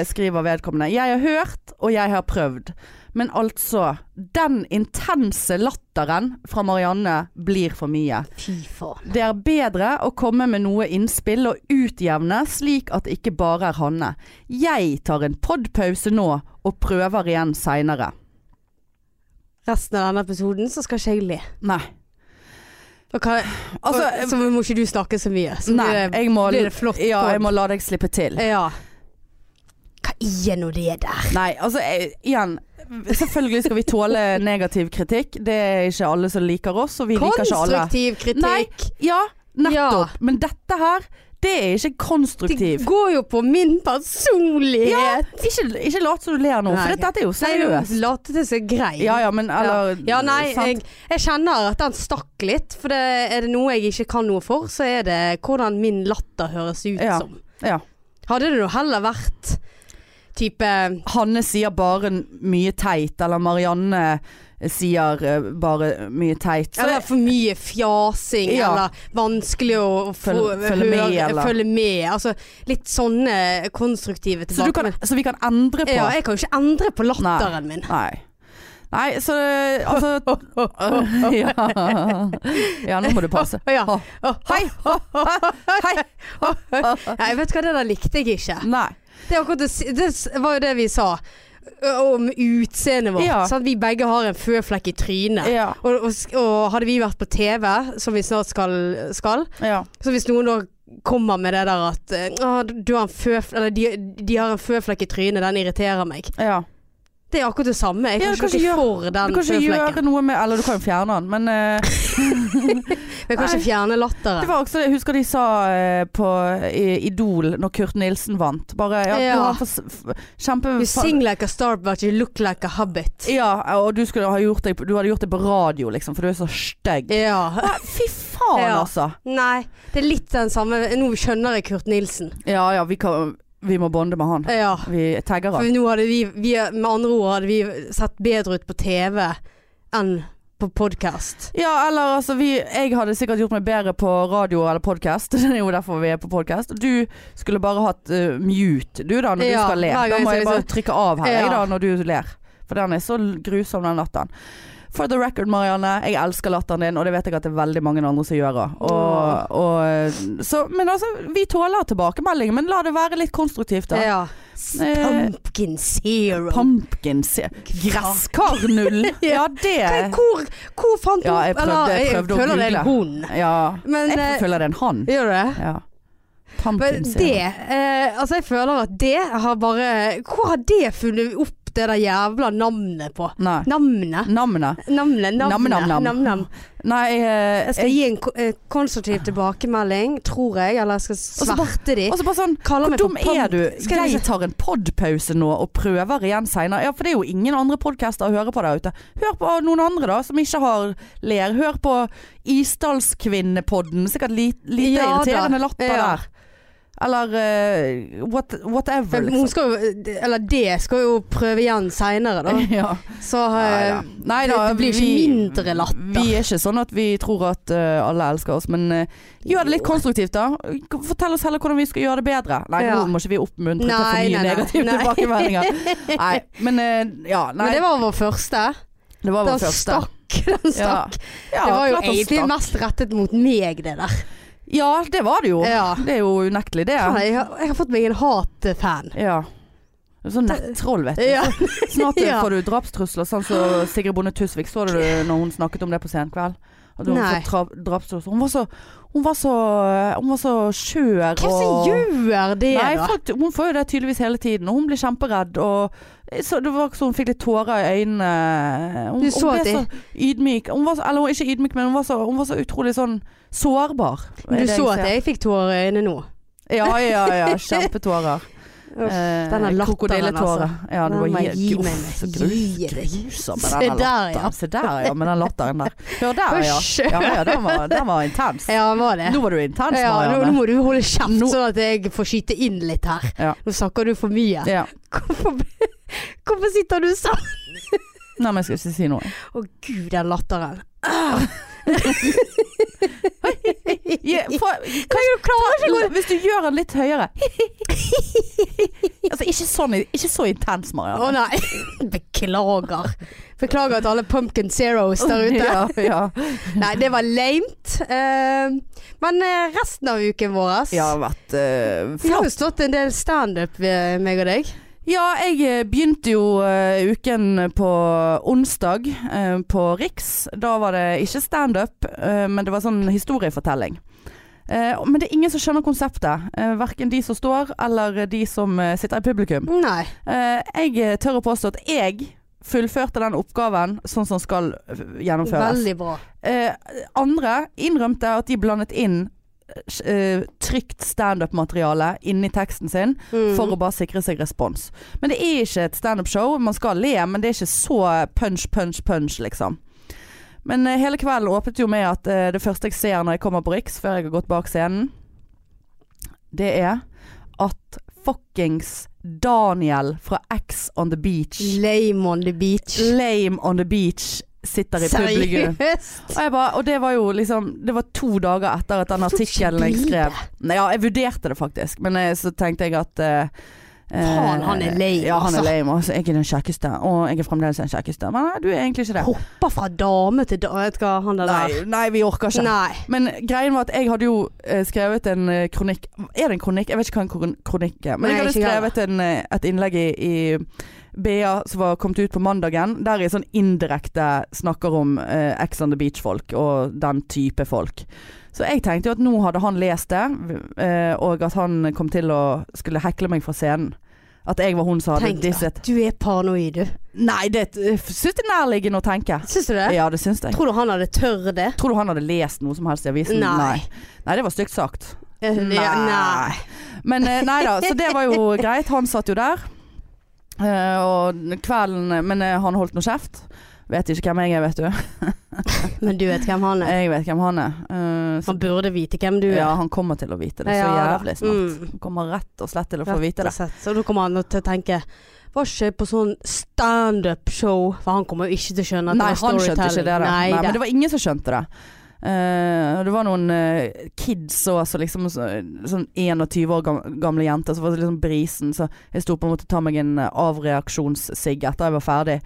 [SPEAKER 2] eh, skriver vedkommende 'Jeg har hørt, og jeg har prøvd'. Men altså, den intense latteren fra Marianne blir for mye.
[SPEAKER 1] Fy faen.
[SPEAKER 2] Det er bedre å komme med noe innspill og utjevne slik at det ikke bare er Hanne. Jeg tar en podpause nå og prøver igjen seinere.
[SPEAKER 1] Resten av denne episoden så skal ikke jeg le.
[SPEAKER 2] Nei.
[SPEAKER 1] Og hva,
[SPEAKER 2] Altså,
[SPEAKER 1] og, så må ikke du snakke så mye. Så
[SPEAKER 2] nei,
[SPEAKER 1] blir det-
[SPEAKER 2] jeg må,
[SPEAKER 1] blir det flott
[SPEAKER 2] ja,
[SPEAKER 1] podd.
[SPEAKER 2] jeg må la deg slippe til.
[SPEAKER 1] Ja. Hva er nå det der?
[SPEAKER 2] Nei, altså jeg, igjen selvfølgelig skal vi tåle negativ kritikk. Det er ikke alle som liker oss, og vi liker ikke alle.
[SPEAKER 1] Konstruktiv kritikk.
[SPEAKER 2] Ja, nettopp.
[SPEAKER 1] Ja.
[SPEAKER 2] Men dette her, det er ikke
[SPEAKER 1] Det
[SPEAKER 2] konstruktiv.
[SPEAKER 1] går jo på min personlighet.
[SPEAKER 2] Ja, ikke, ikke lat som du ler nå,
[SPEAKER 1] Nei.
[SPEAKER 2] for dette er jo
[SPEAKER 1] Nei, nå
[SPEAKER 2] seriøst.
[SPEAKER 1] Late det som grei.
[SPEAKER 2] Ja ja, men eller
[SPEAKER 1] Ja, nei,
[SPEAKER 2] sant?
[SPEAKER 1] jeg, jeg kjenner at den stakk litt. For det, er det noe jeg ikke kan noe for, så er det hvordan min latter høres ut
[SPEAKER 2] Ja.
[SPEAKER 1] som.
[SPEAKER 2] ja.
[SPEAKER 1] Hadde det nå heller vært type
[SPEAKER 2] Hanne sier bare n- mye teit, eller Marianne sier eh, bare mye teit. Så
[SPEAKER 1] Eller for mye fjasing,
[SPEAKER 2] Ja.
[SPEAKER 1] eller vanskelig å få,
[SPEAKER 2] Følg- følge med, eller?
[SPEAKER 1] følge med. Altså litt sånne konstruktive
[SPEAKER 2] så, du kan,
[SPEAKER 1] tilbakemeldinger.
[SPEAKER 2] så vi kan endre på
[SPEAKER 1] Ja, jeg kan jo ikke endre på latteren min.
[SPEAKER 2] Nei. Nei, så eh, altså ja. ja, nå må du passe.
[SPEAKER 1] Å, ja.
[SPEAKER 2] Å, Hei! Hei!
[SPEAKER 1] Nei, vet du hva, det der likte jeg ikke.
[SPEAKER 2] Nei.
[SPEAKER 1] Det, er akkurat det, si- det s- var jo det vi sa ø, om utseendet vårt.
[SPEAKER 2] Ja.
[SPEAKER 1] Sant? Vi begge har en føflekk i trynet.
[SPEAKER 2] Ja.
[SPEAKER 1] Og, og, s- og hadde vi vært på TV, som vi snart skal, skal
[SPEAKER 2] ja.
[SPEAKER 1] Så hvis noen da kommer med det der at ø, «Å, du har en føf, eller, de, de har en føflekk i trynet, den irriterer meg.
[SPEAKER 2] ja.
[SPEAKER 1] Det er akkurat det samme. Jeg
[SPEAKER 2] Ja,
[SPEAKER 1] kan
[SPEAKER 2] du kan
[SPEAKER 1] ikke
[SPEAKER 2] ikke
[SPEAKER 1] noe for
[SPEAKER 2] Du
[SPEAKER 1] den
[SPEAKER 2] kan ikke gjøre
[SPEAKER 1] føflekken.
[SPEAKER 2] noe med Eller du kan jo fjerne den, men eh,
[SPEAKER 1] Men jeg kan ikke fjerne latteren.
[SPEAKER 2] Det var også, jeg husker de sa eh, på i Idol når Kurt Nilsen vant. Bare ja,
[SPEAKER 1] Ja.
[SPEAKER 2] Du har fårs- f kjempe...
[SPEAKER 1] You sing like a star, but you look like a hobbit.
[SPEAKER 2] Ja, og du, skulle ha gjort det, du hadde gjort det på radio, liksom, for du er så stygg.
[SPEAKER 1] Ja.
[SPEAKER 2] Ah, Fy faen,
[SPEAKER 1] Ja.
[SPEAKER 2] altså!
[SPEAKER 1] Nei, det er litt den samme Nå skjønner jeg Kurt Nilsen.
[SPEAKER 2] Ja ja, vi, kan, vi må bonde med han.
[SPEAKER 1] Ja.
[SPEAKER 2] Vi tagger
[SPEAKER 1] For
[SPEAKER 2] han.
[SPEAKER 1] nå hadde vi, vi Med andre ord hadde vi sett bedre ut på TV enn på podkast.
[SPEAKER 2] Ja, eller altså vi, Jeg hadde sikkert gjort meg bedre på radio eller podkast. Det er jo derfor vi er på podkast. Du skulle bare hatt eh, mute, du da, når du
[SPEAKER 1] Ja,
[SPEAKER 2] skal le.
[SPEAKER 1] hver
[SPEAKER 2] Da
[SPEAKER 1] gang
[SPEAKER 2] må
[SPEAKER 1] så
[SPEAKER 2] jeg
[SPEAKER 1] liksom-
[SPEAKER 2] bare trykke av her, jeg,
[SPEAKER 1] Ja.
[SPEAKER 2] da, når du ler. For den er så l- grusom, den latteren. For the record, Marianne. Jeg elsker latteren din, og det vet jeg at det er veldig mange andre som gjør. også. Og, og, så, men altså, vi tåler tilbakemeldinger, men la det være litt konstruktivt, da. Eh,
[SPEAKER 1] Ja. Pumpkin zero.
[SPEAKER 2] Pumpkin se- Gresskarnull! ja, det
[SPEAKER 1] hvor, hvor fant hun
[SPEAKER 2] Ja, jeg prøvde- jeg prøvde å
[SPEAKER 1] føler det er
[SPEAKER 2] google.
[SPEAKER 1] hun.
[SPEAKER 2] Ja.
[SPEAKER 1] Men
[SPEAKER 2] Jeg
[SPEAKER 1] eh,
[SPEAKER 2] føler det er en han.
[SPEAKER 1] Gjør du det?
[SPEAKER 2] Ja.
[SPEAKER 1] Men
[SPEAKER 2] Pumpkin
[SPEAKER 1] det
[SPEAKER 2] syrup.
[SPEAKER 1] eh, Altså, jeg føler at det har bare Hvor har det funnet opp det der jævla navnet på?
[SPEAKER 2] Nei.
[SPEAKER 1] Navnet?
[SPEAKER 2] Namne.
[SPEAKER 1] Navnet, navnet,
[SPEAKER 2] Nam-nam-nam.
[SPEAKER 1] nam-nam.
[SPEAKER 2] Nei, eh,
[SPEAKER 1] Jeg skal
[SPEAKER 2] jeg-
[SPEAKER 1] gi en ko- eh, konstruktiv tilbakemelding, tror jeg, eller jeg skal
[SPEAKER 2] så bare-
[SPEAKER 1] sverte de.
[SPEAKER 2] Og så bare sånn
[SPEAKER 1] Kaller
[SPEAKER 2] Hvor
[SPEAKER 1] meg for
[SPEAKER 2] dum er
[SPEAKER 1] pump-
[SPEAKER 2] du?
[SPEAKER 1] Skal jeg
[SPEAKER 2] Jeg tar en podpause nå og prøver igjen seinere. Ja, for det er jo ingen andre podcaster å høre på der ute. Hør på noen andre, da, som ikke har ler. Hør på Isdalskvinnepodden. Sikkert li lite
[SPEAKER 1] Ja da.
[SPEAKER 2] irriterende latter
[SPEAKER 1] Ja.
[SPEAKER 2] der. Eller eh, what, whatever,
[SPEAKER 1] Men Hun
[SPEAKER 2] liksom.
[SPEAKER 1] skal jo, eller det skal jo prøve igjen seinere, da.
[SPEAKER 2] Ja.
[SPEAKER 1] Så
[SPEAKER 2] Neida.
[SPEAKER 1] eh,
[SPEAKER 2] Neida,
[SPEAKER 1] det blir ikke
[SPEAKER 2] vi-
[SPEAKER 1] mindre latter.
[SPEAKER 2] Vi er ikke sånn at vi tror at eh, alle elsker oss, men eh, gjør det litt
[SPEAKER 1] Jo.
[SPEAKER 2] konstruktivt, da. Fortell oss heller hvordan vi skal gjøre det bedre. Nei,
[SPEAKER 1] Ja.
[SPEAKER 2] nå må ikke vi oppmuntre til for
[SPEAKER 1] Nei,
[SPEAKER 2] mye
[SPEAKER 1] nei, nei.
[SPEAKER 2] negative
[SPEAKER 1] Nei.
[SPEAKER 2] tilbakemeldinger. Nei, men eh, ja. Nei,
[SPEAKER 1] Men det var vår første.
[SPEAKER 2] det var
[SPEAKER 1] Den
[SPEAKER 2] vår første.
[SPEAKER 1] stakk. Den stakk.
[SPEAKER 2] Ja,
[SPEAKER 1] det var jo
[SPEAKER 2] klart han
[SPEAKER 1] egentlig
[SPEAKER 2] stakk.
[SPEAKER 1] mest rettet mot meg, det der.
[SPEAKER 2] Ja, det var det jo.
[SPEAKER 1] Ja.
[SPEAKER 2] Det er jo unektelig, det.
[SPEAKER 1] Faen, Jeg, har, jeg har fått meg en hatfan.
[SPEAKER 2] Ja. Du er Sånn nettroll, vet du.
[SPEAKER 1] Ja.
[SPEAKER 2] Snart
[SPEAKER 1] Ja.
[SPEAKER 2] får du drapstrusler, sånn som Sigrid Bonde Tusvik. Så du når hun snakket om det på Senkveld? At hun,
[SPEAKER 1] Nei.
[SPEAKER 2] fått dra- drapstrusler. hun var så Hun var så Hun var så skjør og
[SPEAKER 1] Hvem som gjør det,
[SPEAKER 2] Nei,
[SPEAKER 1] da?
[SPEAKER 2] folk, hun får jo det tydeligvis hele tiden, og hun blir kjemperedd. Og så, det var så hun fikk litt tårer i øynene. Hun,
[SPEAKER 1] Du så
[SPEAKER 2] hun
[SPEAKER 1] at
[SPEAKER 2] ble
[SPEAKER 1] de-
[SPEAKER 2] så ydmyk. Hun var så, eller hun er ikke ydmyk, men hun var så, hun var så utrolig sånn sårbar.
[SPEAKER 1] Du
[SPEAKER 2] er det
[SPEAKER 1] så
[SPEAKER 2] jeg
[SPEAKER 1] at
[SPEAKER 2] ser.
[SPEAKER 1] jeg fikk tårer i øynene nå.
[SPEAKER 2] Ja, ja, ja. Kjempetårer.
[SPEAKER 1] Uff,
[SPEAKER 2] Eh,
[SPEAKER 1] denne latteren,
[SPEAKER 2] Krokodilletårer. Ja, det
[SPEAKER 1] Den
[SPEAKER 2] var
[SPEAKER 1] må jeg gi
[SPEAKER 2] gi-
[SPEAKER 1] meg.
[SPEAKER 2] Uff, så
[SPEAKER 1] Gi
[SPEAKER 2] grus-
[SPEAKER 1] deg.
[SPEAKER 2] grusom med
[SPEAKER 1] Se
[SPEAKER 2] denne
[SPEAKER 1] der, ja.
[SPEAKER 2] latteren. Se der, ja. Med den latteren der. Hør der, ja.
[SPEAKER 1] Hysj.
[SPEAKER 2] Ja, ja den, var, den var intens.
[SPEAKER 1] Ja, han var det.
[SPEAKER 2] Nå var du intens,
[SPEAKER 1] Ja, nå, nå
[SPEAKER 2] Marianne.
[SPEAKER 1] må du holde kjeft,
[SPEAKER 2] Nå-
[SPEAKER 1] sånn at jeg får skyte inn litt her.
[SPEAKER 2] Ja.
[SPEAKER 1] Nå snakker du for mye.
[SPEAKER 2] Ja.
[SPEAKER 1] Hvorfor, hvorfor sitter du sånn?
[SPEAKER 2] Nei, men jeg skal ikke si noe.
[SPEAKER 1] Å gud, den latteren.
[SPEAKER 2] Ja, for,
[SPEAKER 1] Kan jeg klare ikke å
[SPEAKER 2] Eller Hvis du gjør den litt høyere Altså ikke, sånn, ikke så intens,
[SPEAKER 1] Å
[SPEAKER 2] Marianne.
[SPEAKER 1] nei. Beklager. Beklager til alle Pumpkin Zeros der ute.
[SPEAKER 2] Ja, ja.
[SPEAKER 1] Nei, det var lamet. Eh, men eh, resten av uken vår
[SPEAKER 2] Jeg har vært eh,
[SPEAKER 1] Vi har
[SPEAKER 2] flott.
[SPEAKER 1] jo stått en del standup, ved meg og deg.
[SPEAKER 2] Ja, jeg eh, begynte jo eh, uken på onsdag eh, på Riks. Da var det ikke standup, uh, men det var sånn historiefortelling. Eh, men det er ingen som skjønner konseptet. Uh, verken de som står, eller de som eh, sitter i eh, publikum.
[SPEAKER 1] Nei.
[SPEAKER 2] Eh, jeg tør å påstå at jeg fullførte den oppgaven sånn som skal gjennomføres.
[SPEAKER 1] Veldig bra.
[SPEAKER 2] Eh, andre innrømte at de blandet inn eh, trygt standup-materiale inni teksten sin
[SPEAKER 1] Mm.
[SPEAKER 2] for å bare sikre seg respons. Men det er ikke et standup-show. Man skal le, men det er ikke så punch, punch, punch, liksom. Men eh, hele kvelden åpnet jo med at eh, det første jeg ser når jeg kommer på Riks, før jeg har gått bak scenen, det er at fuckings Daniel fra X on the Beach,
[SPEAKER 1] Mm. Lame on the beach.
[SPEAKER 2] Lame on the Beach, sitter i publikum.
[SPEAKER 1] Seriøst?
[SPEAKER 2] Og, jeg bare, og det var jo liksom Det var to dager etter at den
[SPEAKER 1] Hvorfor tok
[SPEAKER 2] artikkelen jeg
[SPEAKER 1] ikke du
[SPEAKER 2] skrev Nei, Ja, jeg vurderte det faktisk, men eh, så tenkte jeg at eh,
[SPEAKER 1] Faen,
[SPEAKER 2] eh,
[SPEAKER 1] han er lame,
[SPEAKER 2] Ja, han
[SPEAKER 1] altså.
[SPEAKER 2] er lame. Altså. Jeg er den kjekkeste, og jeg er fremdeles den kjekkeste. Men nei, du er egentlig ikke det.
[SPEAKER 1] Hopper fra dame til dame. Vet du hva han der
[SPEAKER 2] Nei, nei, vi orker
[SPEAKER 1] der
[SPEAKER 2] ikke.
[SPEAKER 1] Nei.
[SPEAKER 2] Men greien var at jeg hadde jo eh, skrevet en eh, kronikk Er det en kronikk? Jeg vet ikke hva en kron- kronikk er. Men
[SPEAKER 1] Nei,
[SPEAKER 2] jeg hadde
[SPEAKER 1] ikke jeg
[SPEAKER 2] skrevet en, eh, et innlegg i, i BA som var kommet ut på mandagen, der jeg sånn indirekte snakker om eh, Ex on the Beach-folk og den type folk. Så jeg tenkte jo at nå hadde han lest det, eh, og at han kom til å skulle hekle meg fra scenen. At jeg var hun som hadde
[SPEAKER 1] Tenk
[SPEAKER 2] disset.
[SPEAKER 1] at du er paranoid, du.
[SPEAKER 2] Nei, det syns jeg er nærliggende å tenke.
[SPEAKER 1] Syns du det?
[SPEAKER 2] Ja, det syns jeg.
[SPEAKER 1] Tror du han hadde tør det?
[SPEAKER 2] Tror du han hadde lest noe som helst i avisen?
[SPEAKER 1] Nei.
[SPEAKER 2] Nei, det var stygt sagt.
[SPEAKER 1] Eh, ja, Nei.
[SPEAKER 2] Men eh, nei da, så det var jo greit. Han satt jo der. Eh, og kvelden Men eh, han holdt nå kjeft. Vet ikke hvem jeg er, vet du.
[SPEAKER 1] Men du vet hvem han er.
[SPEAKER 2] Jeg vet hvem han er. Eh, så,
[SPEAKER 1] Han burde vite hvem du er.
[SPEAKER 2] ja, han kommer til å vite det så
[SPEAKER 1] Ja,
[SPEAKER 2] jævlig snart.
[SPEAKER 1] mm.
[SPEAKER 2] Han kommer rett og slett til å få
[SPEAKER 1] Rett
[SPEAKER 2] vite
[SPEAKER 1] og
[SPEAKER 2] det.
[SPEAKER 1] slett. Så da kommer han til å tenke Var ikke på sånn standup-show For han kommer jo ikke til å skjønne at
[SPEAKER 2] Nei,
[SPEAKER 1] det var
[SPEAKER 2] han skjønte ikke det.
[SPEAKER 1] storytelling.
[SPEAKER 2] Da. Nei,
[SPEAKER 1] Nei,
[SPEAKER 2] men det var ingen som skjønte det. Eh, og det var noen eh, kids og så liksom så, sånn 21 år gam- gamle jenter som var det liksom brisen, så jeg sto på en måte og ta meg en eh, avreaksjonssigg etter jeg var ferdig.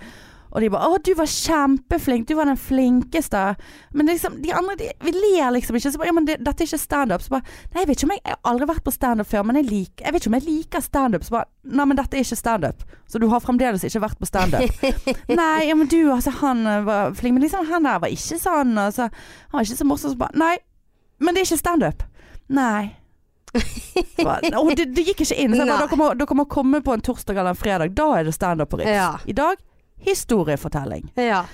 [SPEAKER 2] Og de bare 'Å, du var kjempeflink. Du var den flinkeste.' Men liksom, de andre de, Vi ler liksom ikke. Så bare 'Ja, men det, dette er ikke standup.' Så bare 'Nei, jeg vet ikke om jeg, jeg har aldri vært på standup før, men jeg, lik, jeg vet ikke om jeg liker standup.' Så bare 'Nei, men dette er ikke standup. Så du har fremdeles ikke vært på standup.' 'Nei, ja, men du, altså, han eh, var flink, men liksom han der var ikke sånn, og så Han var ikke så morsom.' Så bare 'Nei, men det er ikke standup.' Nei. Så bare, Og det, det gikk ikke inn. Så jeg bare,
[SPEAKER 1] Nei.
[SPEAKER 2] dere, må, dere må komme på en torsdag eller en fredag. Da er det standup på Riks.
[SPEAKER 1] Ja.
[SPEAKER 2] I dag historiefortelling.
[SPEAKER 1] ja.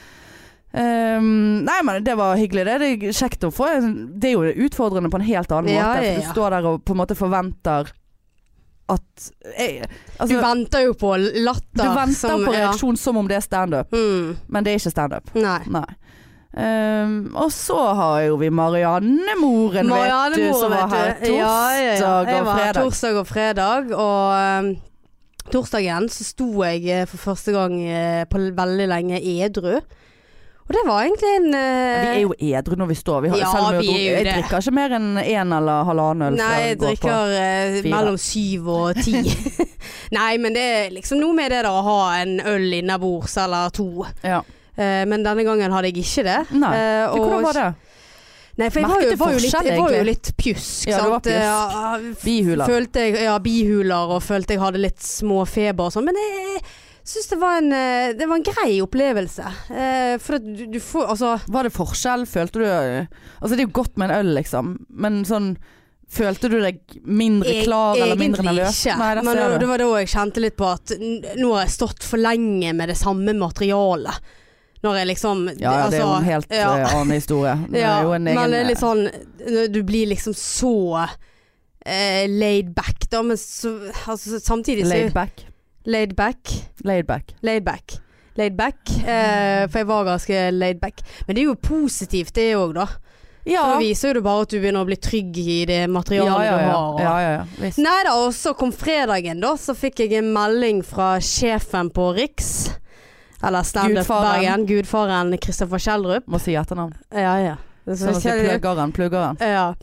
[SPEAKER 2] Ehm, nei, men det var hyggelig. Det, det er kjekt å få en- Det er jo utfordrende på en helt annen
[SPEAKER 1] Ja,
[SPEAKER 2] måte.
[SPEAKER 1] ja,
[SPEAKER 2] For du
[SPEAKER 1] ja.
[SPEAKER 2] står der og på en måte forventer at jeg,
[SPEAKER 1] Du
[SPEAKER 2] altså,
[SPEAKER 1] venter jo på latter.
[SPEAKER 2] du venter
[SPEAKER 1] som-
[SPEAKER 2] på reaksjon som om det er standup,
[SPEAKER 1] Ja. Mm.
[SPEAKER 2] men det er ikke standup.
[SPEAKER 1] Nei.
[SPEAKER 2] Nei. Ehm, og så har jo vi Marianne Moren,
[SPEAKER 1] Marianne
[SPEAKER 2] vet du,
[SPEAKER 1] Moren,
[SPEAKER 2] som var
[SPEAKER 1] vet
[SPEAKER 2] her
[SPEAKER 1] du.
[SPEAKER 2] torsdag
[SPEAKER 1] Ja, ja, ja. Jeg
[SPEAKER 2] og
[SPEAKER 1] var her
[SPEAKER 2] fredag.
[SPEAKER 1] Torsdag og fredag, og um, torsdagen så sto jeg eh, for første gang eh, på l- veldig lenge edru. Og det var egentlig en eh,
[SPEAKER 2] Vi er jo edru når vi står. Vi har,
[SPEAKER 1] Ja,
[SPEAKER 2] selv om vi har
[SPEAKER 1] vi er jo
[SPEAKER 2] drukket-
[SPEAKER 1] det.
[SPEAKER 2] jeg drikker ikke mer enn én eller halvannen øl. før
[SPEAKER 1] Nei, jeg
[SPEAKER 2] jeg går på.
[SPEAKER 1] drikker eh,
[SPEAKER 2] fire.
[SPEAKER 1] mellom syv og ti. Nei, men det er liksom noe med det da, å ha en øl innabords eller to.
[SPEAKER 2] Ja.
[SPEAKER 1] Eh, men denne gangen hadde jeg ikke det.
[SPEAKER 2] Nei.
[SPEAKER 1] Eh,
[SPEAKER 2] Men Hvordan var det?
[SPEAKER 1] Nei, for jeg var,
[SPEAKER 2] Merket
[SPEAKER 1] jo,
[SPEAKER 2] du
[SPEAKER 1] var, jo litt,
[SPEAKER 2] forskjell,
[SPEAKER 1] jeg var jo
[SPEAKER 2] egentlig?
[SPEAKER 1] litt pjusk.
[SPEAKER 2] Ja, du var
[SPEAKER 1] sant?
[SPEAKER 2] pjusk.
[SPEAKER 1] Ja,
[SPEAKER 2] Bihuler.
[SPEAKER 1] Følte jeg, ja, bihuler og følte jeg hadde litt småfeber og sånn. Men jeg syns det, var en, eh, det var en grei opplevelse. Eh, For at du, du får Altså,
[SPEAKER 2] Var det forskjell? Følte du Altså det er jo godt med en øl, liksom, men sånn Følte du deg mindre
[SPEAKER 1] eg-
[SPEAKER 2] klar eller mindre
[SPEAKER 1] E- egentlig
[SPEAKER 2] nervøs?
[SPEAKER 1] ikke.
[SPEAKER 2] Nei, der
[SPEAKER 1] men
[SPEAKER 2] ser du.
[SPEAKER 1] det var da jeg kjente litt på at n- nå har jeg stått for lenge med det samme materialet. Når jeg liksom
[SPEAKER 2] Ja, ja, det er jo en
[SPEAKER 1] altså,
[SPEAKER 2] helt
[SPEAKER 1] ja.
[SPEAKER 2] eh, annen historie. Det
[SPEAKER 1] Ja,
[SPEAKER 2] er jo en
[SPEAKER 1] men
[SPEAKER 2] egen
[SPEAKER 1] det er litt sånn når Du blir liksom så eh, laid back, da, men så, altså, samtidig så
[SPEAKER 2] laid back.
[SPEAKER 1] Laid back.
[SPEAKER 2] Laid back.
[SPEAKER 1] Laid back. Laid back. Eh, for jeg var ganske laid back. Men det er jo positivt, det òg, da.
[SPEAKER 2] Ja,
[SPEAKER 1] Da viser jo det bare at du begynner å bli trygg i det
[SPEAKER 2] ja,
[SPEAKER 1] materialet
[SPEAKER 2] ja, ja,
[SPEAKER 1] du har. og-
[SPEAKER 2] ja, ja, ja. Visst.
[SPEAKER 1] Nei da, og så kom fredagen da, så fikk jeg en melding fra sjefen på Riks. Eller Standup
[SPEAKER 2] Gudfaren.
[SPEAKER 1] Bergen. Gudfaren Kristoffer Kjeldrup.
[SPEAKER 2] Må si etternavn.
[SPEAKER 1] Ja, ja. Det er
[SPEAKER 2] Sånn at jeg plugger den, plugger den.
[SPEAKER 1] Ja.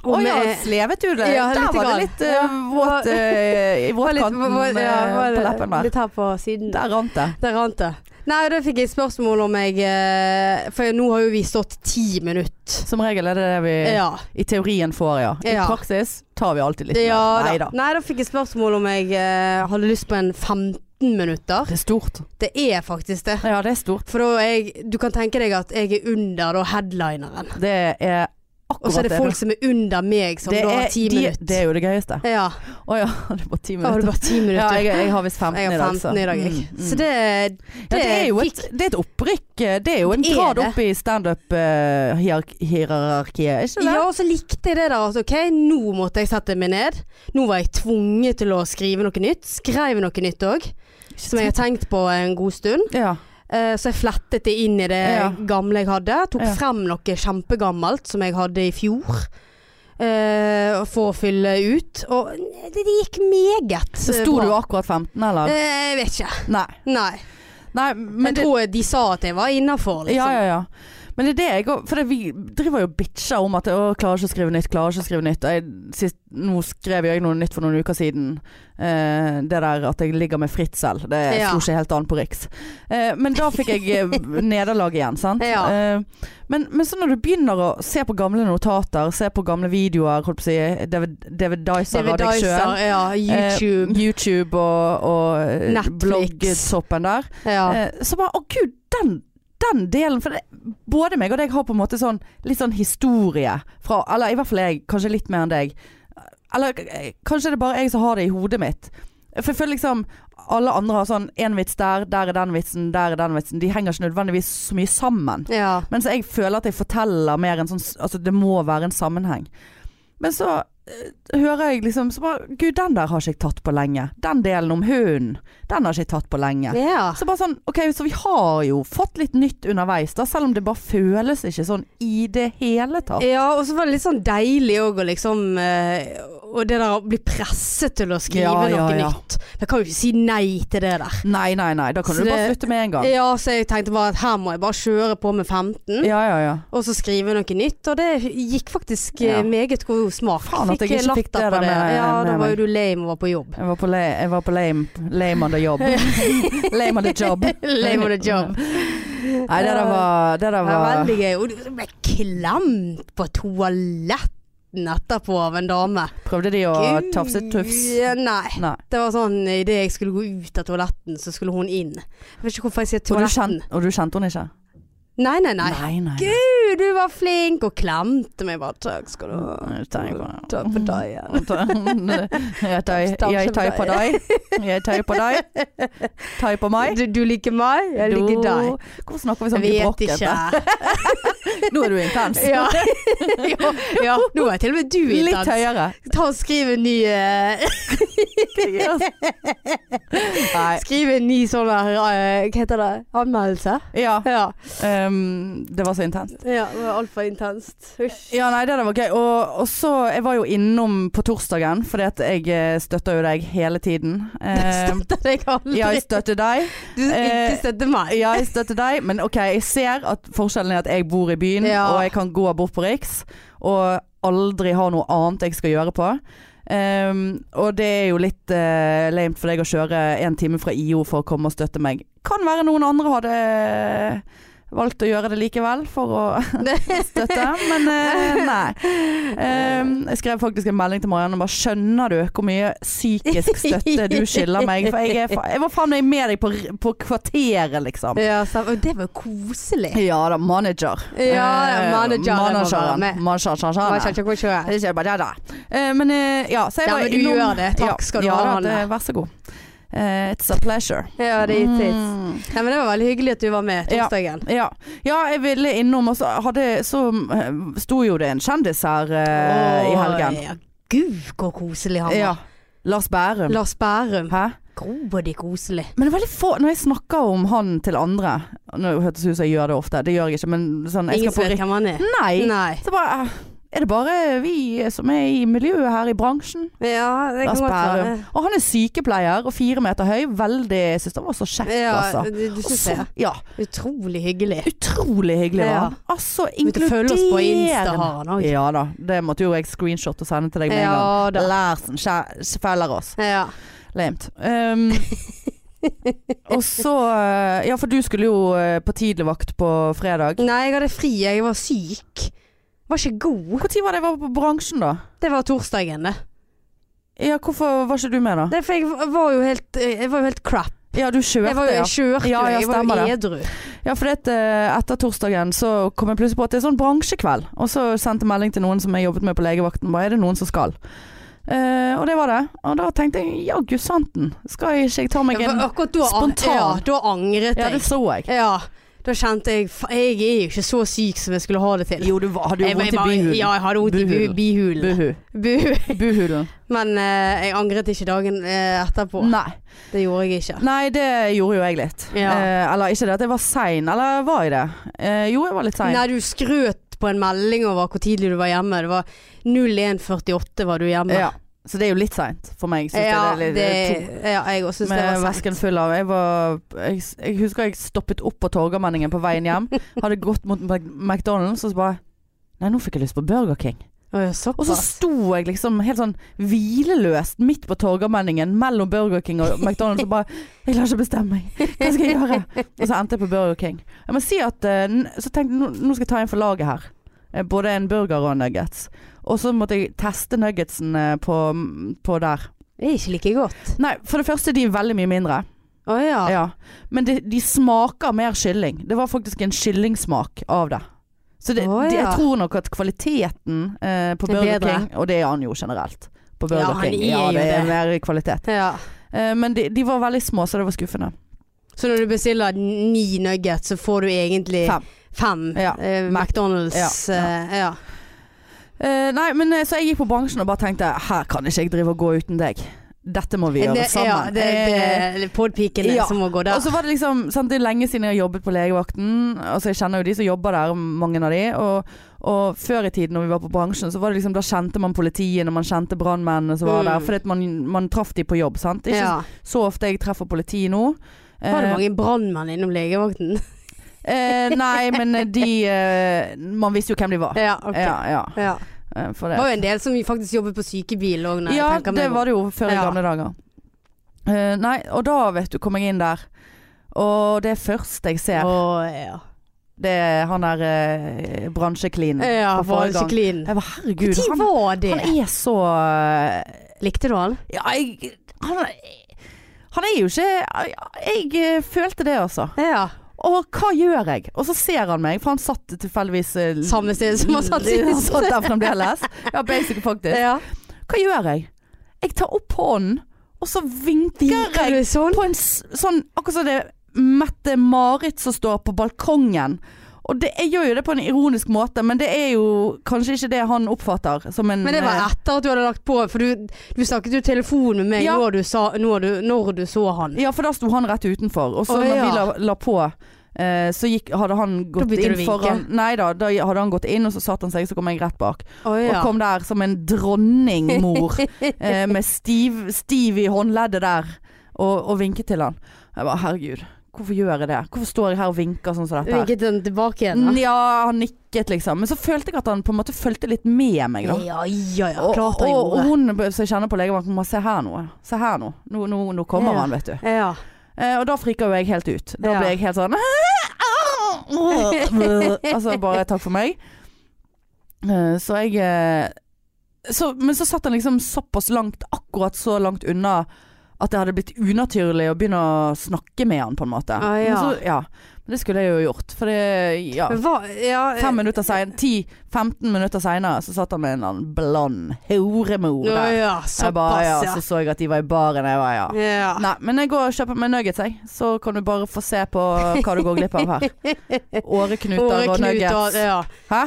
[SPEAKER 2] Å
[SPEAKER 1] Og
[SPEAKER 2] ja,
[SPEAKER 1] med-
[SPEAKER 2] slevet du det?
[SPEAKER 1] Ja,
[SPEAKER 2] Der var
[SPEAKER 1] lite
[SPEAKER 2] det
[SPEAKER 1] grann.
[SPEAKER 2] litt eh, våt eh, i
[SPEAKER 1] var litt-
[SPEAKER 2] våtkanten
[SPEAKER 1] var- var- ja,
[SPEAKER 2] eh,
[SPEAKER 1] var
[SPEAKER 2] på
[SPEAKER 1] det-
[SPEAKER 2] leppen der.
[SPEAKER 1] Litt her på siden.
[SPEAKER 2] Der rant det.
[SPEAKER 1] Der rant det. Nei, da fikk jeg spørsmål om jeg eh, For nå har jo vi stått ti minutter.
[SPEAKER 2] Som regel er det det vi
[SPEAKER 1] Ja.
[SPEAKER 2] i teorien får, ja. I
[SPEAKER 1] Ja.
[SPEAKER 2] praksis tar vi alltid litt
[SPEAKER 1] ja
[SPEAKER 2] mer. Nei
[SPEAKER 1] da.
[SPEAKER 2] da.
[SPEAKER 1] Nei, da fikk jeg spørsmål om jeg eh, hadde lyst på en 15 minutter.
[SPEAKER 2] Det er stort.
[SPEAKER 1] Det er faktisk det.
[SPEAKER 2] Ja, det er stort.
[SPEAKER 1] For da er jeg, du kan tenke deg at jeg er under da headlineren.
[SPEAKER 2] Det er
[SPEAKER 1] Og
[SPEAKER 2] akkurat
[SPEAKER 1] så er det folk som er under meg som
[SPEAKER 2] Det
[SPEAKER 1] da
[SPEAKER 2] er-
[SPEAKER 1] har ti
[SPEAKER 2] de-
[SPEAKER 1] minutter.
[SPEAKER 2] Det er jo det gøyeste.
[SPEAKER 1] Ja.
[SPEAKER 2] Å ja, det er bare ti
[SPEAKER 1] Da har du
[SPEAKER 2] minutter.
[SPEAKER 1] bare ti
[SPEAKER 2] Ja,
[SPEAKER 1] minutter.
[SPEAKER 2] jeg, jeg har visst 15
[SPEAKER 1] jeg
[SPEAKER 2] i
[SPEAKER 1] har
[SPEAKER 2] dag.
[SPEAKER 1] 15 i dag, jeg.
[SPEAKER 2] Mm, mm.
[SPEAKER 1] Så det,
[SPEAKER 2] Ja, det er jo et,
[SPEAKER 1] fikk-
[SPEAKER 2] det er et opprykk. eh, Det er jo en
[SPEAKER 1] Det er
[SPEAKER 2] grad
[SPEAKER 1] det.
[SPEAKER 2] opp i standup-hierarkiet, er ikke det?
[SPEAKER 1] Ja, og så likte jeg det der. Altså, ok, nå måtte jeg sette meg ned. Nå var jeg tvunget til å skrive noe nytt. Skrev noe nytt òg, som jeg har tenkt på en god stund.
[SPEAKER 2] ja.
[SPEAKER 1] Eh, så jeg flettet det inn i det
[SPEAKER 2] Ja.
[SPEAKER 1] gamle jeg hadde. Tok
[SPEAKER 2] Ja.
[SPEAKER 1] frem noe kjempegammelt som jeg hadde i fjor. eh, for å fylle ut. Og det, det gikk meget
[SPEAKER 2] Så sto du akkurat 15, eller?
[SPEAKER 1] Jeg vet ikke.
[SPEAKER 2] Nei.
[SPEAKER 1] Nei.
[SPEAKER 2] Nei
[SPEAKER 1] Men
[SPEAKER 2] men
[SPEAKER 1] Eh. jeg
[SPEAKER 2] det,
[SPEAKER 1] tror de sa at jeg var innafor, liksom.
[SPEAKER 2] ja, ja, ja. Men det er det jeg òg For det, vi driver jo og bitcher om at Å, klarer ikke å skrive nytt, klarer ikke å skrive nytt. Jeg, sist, nå skrev jeg noe nytt for noen uker siden. Eh, det der at jeg ligger med Fritzel. Det
[SPEAKER 1] Ja.
[SPEAKER 2] slo ikke helt an på Riks. Eh, men da fikk jeg eh, nederlag igjen, sant.
[SPEAKER 1] Ja.
[SPEAKER 2] Eh, men, men så når du begynner å se på gamle notater, se på gamle videoer, holdt på å si David, David Dyser
[SPEAKER 1] David
[SPEAKER 2] av deg sjøl.
[SPEAKER 1] Dyser, ja, YouTube.
[SPEAKER 2] Eh, YouTube og, og
[SPEAKER 1] Netflix.
[SPEAKER 2] bloggtoppen der.
[SPEAKER 1] ja.
[SPEAKER 2] Eh, Så bare, å gud, den, den delen For det, både meg og deg har på en måte sånn litt sånn historie fra Eller i hvert fall jeg, kanskje litt mer enn deg. Eller eh, kanskje det er bare jeg som har det i hodet mitt. For jeg føler liksom alle andre har sånn én vits der, der er den vitsen, der er den vitsen. De henger ikke nødvendigvis så mye sammen.
[SPEAKER 1] ja.
[SPEAKER 2] Mens jeg føler at jeg forteller mer en sånn Altså det må være en sammenheng. Men så eh, hører jeg liksom så bare, Gud, den der har ikke jeg tatt på lenge. Den delen om hunden, den har ikke jeg tatt på lenge.
[SPEAKER 1] ja.
[SPEAKER 2] Så bare sånn, ok, så vi har jo fått litt nytt underveis, da, selv om det bare føles ikke sånn i det hele tatt.
[SPEAKER 1] Ja, og så var det litt sånn deilig òg å liksom eh, Og det der å bli presset til å skrive
[SPEAKER 2] Ja, ja,
[SPEAKER 1] noe
[SPEAKER 2] ja.
[SPEAKER 1] nytt. Jeg kan jo ikke si nei til det der.
[SPEAKER 2] Nei, nei, nei, da kan
[SPEAKER 1] Så
[SPEAKER 2] du bare
[SPEAKER 1] det-
[SPEAKER 2] slutte med en gang.
[SPEAKER 1] Ja, så jeg tenkte bare at her må jeg bare kjøre på med 15,
[SPEAKER 2] Ja, ja, ja.
[SPEAKER 1] og så skrive noe nytt. Og det gikk faktisk eh,
[SPEAKER 2] Ja.
[SPEAKER 1] meget god smak.
[SPEAKER 2] Faen at jeg ikke fikk det
[SPEAKER 1] latter
[SPEAKER 2] der med-
[SPEAKER 1] Ja,
[SPEAKER 2] med
[SPEAKER 1] da var
[SPEAKER 2] meg.
[SPEAKER 1] jo du lame og var på jobb.
[SPEAKER 2] Jeg var på, le jeg var på lame, lame on the job. lame on the job.
[SPEAKER 1] Lame on the job.
[SPEAKER 2] Nei, det der var, det der
[SPEAKER 1] Det var
[SPEAKER 2] var
[SPEAKER 1] veldig gøy. Og du ble klemt på toaletten etterpå av en dame.
[SPEAKER 2] Prøvde de å
[SPEAKER 1] Gud,
[SPEAKER 2] tafse tufs?
[SPEAKER 1] ja, Nei.
[SPEAKER 2] Nei.
[SPEAKER 1] Det var sånn idet jeg skulle gå ut av toaletten, så skulle hun inn. Jeg vet ikke hvorfor jeg sier
[SPEAKER 2] Og du,
[SPEAKER 1] toaletten.
[SPEAKER 2] kjente, og du kjente hun ikke?
[SPEAKER 1] Nei, nei, nei.
[SPEAKER 2] nei. nei.
[SPEAKER 1] Gud, du var flink! Og klemte meg bare. Takk skal du ha.
[SPEAKER 2] Jeg tenker på-
[SPEAKER 1] Takk for deg. ja.
[SPEAKER 2] Jeg tar- jeg tar på deg. Jeg tar på deg. Tar på meg.
[SPEAKER 1] Du, du liker meg, jeg liker
[SPEAKER 2] Du-
[SPEAKER 1] deg.
[SPEAKER 2] Hvorfor snakker vi
[SPEAKER 1] Jeg
[SPEAKER 2] sånn
[SPEAKER 1] vet
[SPEAKER 2] gebrokkete?
[SPEAKER 1] ikke.
[SPEAKER 2] Nå er du intens.
[SPEAKER 1] Ja. ja, ja, nå er til og med du
[SPEAKER 2] Litt
[SPEAKER 1] intens.
[SPEAKER 2] høyere.
[SPEAKER 1] Ta og skriv en ny eh,
[SPEAKER 2] Nei.
[SPEAKER 1] Skriv en ny sånn der eh, Hva heter det? Anmeldelse?
[SPEAKER 2] Ja.
[SPEAKER 1] Ja.
[SPEAKER 2] ehm, det var så intenst.
[SPEAKER 1] ja det var altfor intenst. Hysj.
[SPEAKER 2] Ja, nei, det der var gøy. Og, og så Jeg var jo innom på torsdagen, fordi at jeg eh, støtter jo deg hele tiden. Ehm,
[SPEAKER 1] Støtter deg aldri.
[SPEAKER 2] ja, jeg støtter deg.
[SPEAKER 1] Du skal ikke
[SPEAKER 2] eh,
[SPEAKER 1] støtte meg.
[SPEAKER 2] Ja, jeg støtter deg, men ok, jeg ser at forskjellen er at jeg bor i byen,
[SPEAKER 1] Ja.
[SPEAKER 2] og jeg kan gå bort på Riks, og aldri har noe annet jeg skal gjøre på. Ehm, og det er jo litt uh, lame for deg å kjøre en time fra IO for å komme og støtte meg. Kan være noen andre hadde valgt å gjøre det likevel for å støtte, men eh, nei. Ehm, jeg skrev faktisk en melding til Marianne og bare skjønner du hvor mye psykisk støtte du skylder meg? For jeg, er, fa- jeg var faen meg med deg på, r- på kvarteret, liksom.
[SPEAKER 1] Ja, så, og det var jo koselig.
[SPEAKER 2] Ja da, manager.
[SPEAKER 1] Ja, ja,
[SPEAKER 2] Eh,
[SPEAKER 1] manager, det må være
[SPEAKER 2] manageren.
[SPEAKER 1] med.
[SPEAKER 2] Manageren.
[SPEAKER 1] Hva skjer, hva skjer?
[SPEAKER 2] Det skjer bare det, da. Eh, Men eh, ja, så jeg
[SPEAKER 1] Ja,
[SPEAKER 2] var
[SPEAKER 1] men du
[SPEAKER 2] innom-
[SPEAKER 1] gjør det. Takk skal du
[SPEAKER 2] ja,
[SPEAKER 1] ha,
[SPEAKER 2] Ja,
[SPEAKER 1] Hanne.
[SPEAKER 2] det- vær så god. Eh, It's a pleasure.
[SPEAKER 1] Ja, det er gitt hits.
[SPEAKER 2] Mm.
[SPEAKER 1] Nei, men det var veldig hyggelig at du var med
[SPEAKER 2] Ja.
[SPEAKER 1] torsdagen.
[SPEAKER 2] Ja. ja, jeg ville innom, og så hadde Så eh, sto jo det en kjendis her eh, i
[SPEAKER 1] Åh,
[SPEAKER 2] helgen.
[SPEAKER 1] Ja, gud, hvor koselig han var.
[SPEAKER 2] Ja. Lars Bærum.
[SPEAKER 1] Lars Bærum.
[SPEAKER 2] Hæ?
[SPEAKER 1] Grådig koselig.
[SPEAKER 2] Men det er veldig få Når jeg snakker om han til andre Nå hørtes det ut som jeg gjør det ofte, det gjør jeg ikke, men sånn jeg
[SPEAKER 1] Ingen som
[SPEAKER 2] skal på
[SPEAKER 1] vet hvem han er.
[SPEAKER 2] rik- Nei.
[SPEAKER 1] Nei.
[SPEAKER 2] Så bare eh, Er det bare vi som er i miljøet her i bransjen?
[SPEAKER 1] Ja, det
[SPEAKER 2] Lars
[SPEAKER 1] kan godt være.
[SPEAKER 2] Bærum. Og han er sykepleier og fire meter høy. Veldig Jeg syns han var så kjekk,
[SPEAKER 1] Ja,
[SPEAKER 2] altså.
[SPEAKER 1] du, du syns
[SPEAKER 2] Så,
[SPEAKER 1] det.
[SPEAKER 2] ja,
[SPEAKER 1] Utrolig hyggelig.
[SPEAKER 2] utrolig hyggelig var
[SPEAKER 1] Ja.
[SPEAKER 2] han. Altså,
[SPEAKER 1] Vet du, Følg oss på Insta
[SPEAKER 2] inkluderende.
[SPEAKER 1] har han òg.
[SPEAKER 2] Ja da, det måtte jo jeg screenshot og sende til deg med en gang.
[SPEAKER 1] Ja da.
[SPEAKER 2] Larsen kjæ- følger oss.
[SPEAKER 1] Ja.
[SPEAKER 2] Lamet. Um, og så eh, Ja, for du skulle jo eh, på tidligvakt på fredag.
[SPEAKER 1] Nei, jeg hadde fri. Jeg var syk. Var ikke god.
[SPEAKER 2] Når var det jeg var på bransjen, da?
[SPEAKER 1] Det var torsdagen, det.
[SPEAKER 2] Ja, hvorfor var ikke du med, da?
[SPEAKER 1] Nei, for eh, jeg var jo helt, jeg var jo helt crap.
[SPEAKER 2] Ja, du
[SPEAKER 1] Jeg
[SPEAKER 2] kjørte,
[SPEAKER 1] var
[SPEAKER 2] ja.
[SPEAKER 1] jo jeg kjørte,
[SPEAKER 2] Ja, ja,
[SPEAKER 1] jeg var jo
[SPEAKER 2] stemmer det.
[SPEAKER 1] edru.
[SPEAKER 2] Ja, for det, eh, etter torsdagen så kom jeg plutselig på at det er sånn bransjekveld. Og så sendte jeg melding til noen som jeg jobbet med på legevakten. Bare, er det noen som skal? Eh, og det var det. Og da tenkte jeg jaggu santen. Skal ikke jeg ta meg
[SPEAKER 1] Ja,
[SPEAKER 2] en
[SPEAKER 1] for akkurat da,
[SPEAKER 2] spontan.
[SPEAKER 1] Ja, da angret
[SPEAKER 2] Ja, det
[SPEAKER 1] jeg.
[SPEAKER 2] så jeg.
[SPEAKER 1] Ja, da kjente jeg "Fa- Jeg er jo ikke så syk som jeg skulle ha det til.
[SPEAKER 2] Jo, du var- hadde jo
[SPEAKER 1] Jeg-
[SPEAKER 2] vondt
[SPEAKER 1] jeg
[SPEAKER 2] i
[SPEAKER 1] bare-
[SPEAKER 2] bihulen.
[SPEAKER 1] Ja, jeg hadde vondt i
[SPEAKER 2] Bihulen.
[SPEAKER 1] bu- bihulen.
[SPEAKER 2] Buhu.
[SPEAKER 1] Bu.
[SPEAKER 2] Buhulen.
[SPEAKER 1] Men eh, jeg angret ikke dagen eh, etterpå.
[SPEAKER 2] Nei.
[SPEAKER 1] Det gjorde jeg ikke.
[SPEAKER 2] Nei, det gjorde jo jeg litt.
[SPEAKER 1] Ja.
[SPEAKER 2] Eh, eller ikke det at jeg var sein, eller var jeg det? Eh, jo, jeg var litt sein.
[SPEAKER 1] Nei, du skrøt på en melding over hvor tidlig du var hjemme. Det var 01.48 var du hjemme.
[SPEAKER 2] Ja. Så det er jo litt seint for meg. Synes
[SPEAKER 1] Ja,
[SPEAKER 2] jeg det er litt, to-
[SPEAKER 1] det- ja, jeg også syns det
[SPEAKER 2] med
[SPEAKER 1] var
[SPEAKER 2] vesken
[SPEAKER 1] seint.
[SPEAKER 2] full av jeg, var, jeg, jeg husker jeg stoppet opp på Torgallmenningen på veien hjem. Hadde gått mot Mac- McDonald's og så bare Nei, nå fikk jeg lyst på Burger King.
[SPEAKER 1] Å,
[SPEAKER 2] Og så
[SPEAKER 1] Såpass.
[SPEAKER 2] sto jeg liksom helt sånn hvileløst midt på Torgallmenningen mellom Burger King og McDonald's og bare Jeg klarer ikke å bestemme meg. Hva skal jeg gjøre? Og så endte jeg på Burger King. Jeg må si at eh, n- Så tenkte jeg nå, nå skal jeg ta en for laget her. Eh, Både en burger og nuggets. Og så måtte jeg teste nuggetsen eh, på, på der.
[SPEAKER 1] Det er ikke like godt.
[SPEAKER 2] Nei, for det første, de er veldig mye mindre.
[SPEAKER 1] Å ja.
[SPEAKER 2] Ja. Men de, de smaker mer kylling. Det var faktisk en kyllingsmak av det. Så det,
[SPEAKER 1] Å,
[SPEAKER 2] det-
[SPEAKER 1] ja.
[SPEAKER 2] jeg tror nok at kvaliteten eh, på
[SPEAKER 1] Det er
[SPEAKER 2] Burger
[SPEAKER 1] bedre.
[SPEAKER 2] King Og det er han jo generelt. På Burger
[SPEAKER 1] Ja, han
[SPEAKER 2] King.
[SPEAKER 1] er
[SPEAKER 2] Ja,
[SPEAKER 1] jo
[SPEAKER 2] det er
[SPEAKER 1] det.
[SPEAKER 2] mer kvalitet.
[SPEAKER 1] ja.
[SPEAKER 2] Eh, men de, de var veldig små, så det var skuffende.
[SPEAKER 1] Så når du bestiller ni nuggets, så får du egentlig
[SPEAKER 2] Fem.
[SPEAKER 1] fem,
[SPEAKER 2] Ja.
[SPEAKER 1] eh, McDonald's.
[SPEAKER 2] Ja.
[SPEAKER 1] eh, ja.
[SPEAKER 2] Eh, nei, men eh, så jeg gikk på bransjen og bare tenkte her kan ikke jeg drive og gå uten deg. Dette må vi
[SPEAKER 1] Men
[SPEAKER 2] gjøre
[SPEAKER 1] Eh, det-
[SPEAKER 2] sammen. Eh,
[SPEAKER 1] Ja, det, det, det podpikene
[SPEAKER 2] ja.
[SPEAKER 1] som må gå der.
[SPEAKER 2] Og så var det liksom sant, Det er lenge siden jeg har jobbet på legevakten. Altså Jeg kjenner jo de som jobber der, mange av de. Og, og før i tiden når vi var på bransjen, så var det liksom da kjente man politiet og man kjente brannmennene som var
[SPEAKER 1] Mm.
[SPEAKER 2] der. Fordi at man, man traff de på jobb, sant. Det er ikke
[SPEAKER 1] ja.
[SPEAKER 2] så ofte jeg treffer politi nå.
[SPEAKER 1] Var det
[SPEAKER 2] Eh,
[SPEAKER 1] mange brannmenn innom legevakten?
[SPEAKER 2] eh, nei, men de eh, Man visste jo hvem de var.
[SPEAKER 1] ja, ok.
[SPEAKER 2] Ja, ja.
[SPEAKER 1] Ja.
[SPEAKER 2] eh, For
[SPEAKER 1] Det
[SPEAKER 2] det.
[SPEAKER 1] var jo en del som faktisk jobbet på sykebil òg, når jeg
[SPEAKER 2] Ja,
[SPEAKER 1] tenker
[SPEAKER 2] det
[SPEAKER 1] meg om.
[SPEAKER 2] var det jo før i
[SPEAKER 1] Ja.
[SPEAKER 2] gamle dager. Eh, nei, og da vet du, kom jeg inn der. Og det første jeg ser
[SPEAKER 1] Å, ja.
[SPEAKER 2] Det er han der eh, bransjeklinen
[SPEAKER 1] Ja,
[SPEAKER 2] fra forrige
[SPEAKER 1] var ikke
[SPEAKER 2] gang.
[SPEAKER 1] clean.
[SPEAKER 2] Jeg var, herregud,
[SPEAKER 1] Når
[SPEAKER 2] han,
[SPEAKER 1] var det?
[SPEAKER 2] han er så eh,
[SPEAKER 1] Likte du han?
[SPEAKER 2] Ja, jeg Han, er- han er jo ikke Jeg, jeg eh, følte det, altså.
[SPEAKER 1] Ja.
[SPEAKER 2] Og hva gjør jeg? Og så ser han meg, for han satt tilfeldigvis eh,
[SPEAKER 1] Samme sted som han satt sist.
[SPEAKER 2] Han satt der fremdeles. Ja, basic, faktisk.
[SPEAKER 1] ja.
[SPEAKER 2] Hva gjør jeg? Jeg tar opp hånden, og så vinker
[SPEAKER 1] Vinker
[SPEAKER 2] jeg
[SPEAKER 1] du sånn?
[SPEAKER 2] på en s- sånn Akkurat som det er Mette-Marit som står på balkongen. Og det, jeg gjør jo det på en ironisk måte, men det er jo kanskje ikke det han oppfatter som en
[SPEAKER 1] Men det var
[SPEAKER 2] eh,
[SPEAKER 1] etter at du hadde lagt på, for du, du snakket jo i telefon med meg
[SPEAKER 2] Ja.
[SPEAKER 1] når, du sa, når, du, når du så han.
[SPEAKER 2] Ja, for da sto han rett utenfor. Og så
[SPEAKER 1] Å,
[SPEAKER 2] når
[SPEAKER 1] ja.
[SPEAKER 2] vi la, la på eh, så gikk, hadde han gått
[SPEAKER 1] begynte du
[SPEAKER 2] inn
[SPEAKER 1] å vinke.
[SPEAKER 2] foran Nei da, da hadde han gått inn, og så satte han seg, så kom jeg rett bak.
[SPEAKER 1] Å, ja.
[SPEAKER 2] Og kom der som en dronningmor eh, med stiv, stiv i håndleddet der, og, og vinket til han. Jeg bare herregud, hvorfor gjør jeg det? Hvorfor står jeg her og vinker sånn som dette? her?
[SPEAKER 1] Vinket den tilbake igjen? da?
[SPEAKER 2] Mm, Ja, han nikket liksom. Men så følte jeg at han på en måte fulgte litt med meg, da.
[SPEAKER 1] Ja, ja, ja.
[SPEAKER 2] Og,
[SPEAKER 1] Klart han
[SPEAKER 2] og, og
[SPEAKER 1] gjorde.
[SPEAKER 2] hun som jeg kjenner på legevakten, må se her nå. Se her nå. Nå, nå, nå kommer
[SPEAKER 1] Ja.
[SPEAKER 2] han, vet du.
[SPEAKER 1] Ja.
[SPEAKER 2] Eh, og da frika jo jeg helt ut. Da
[SPEAKER 1] Ja.
[SPEAKER 2] ble jeg helt sånn Altså bare takk for meg. Eh, så jeg eh, så, Men så satt han liksom såpass langt, akkurat så langt unna at det hadde blitt unaturlig å begynne å snakke med han, på en måte.
[SPEAKER 1] Ah, ja.
[SPEAKER 2] Men så, ja. Men det skulle jeg jo gjort. For det Ja.
[SPEAKER 1] Men hva ja, eh,
[SPEAKER 2] Fem minutter sen, 10-15 minutter seinere så satt han med en eller annen bland horemor
[SPEAKER 1] ja,
[SPEAKER 2] der.
[SPEAKER 1] ja,
[SPEAKER 2] Jeg bare,
[SPEAKER 1] såpass,
[SPEAKER 2] ja,
[SPEAKER 1] ja.
[SPEAKER 2] så så jeg at de var i baren. Jeg bare, ja.
[SPEAKER 1] ja.
[SPEAKER 2] Nei, men jeg går og kjøper meg nuggets, jeg. Så kan du bare få se på hva du går glipp av her. Åreknuter og nuggets.
[SPEAKER 1] ja.
[SPEAKER 2] Hæ?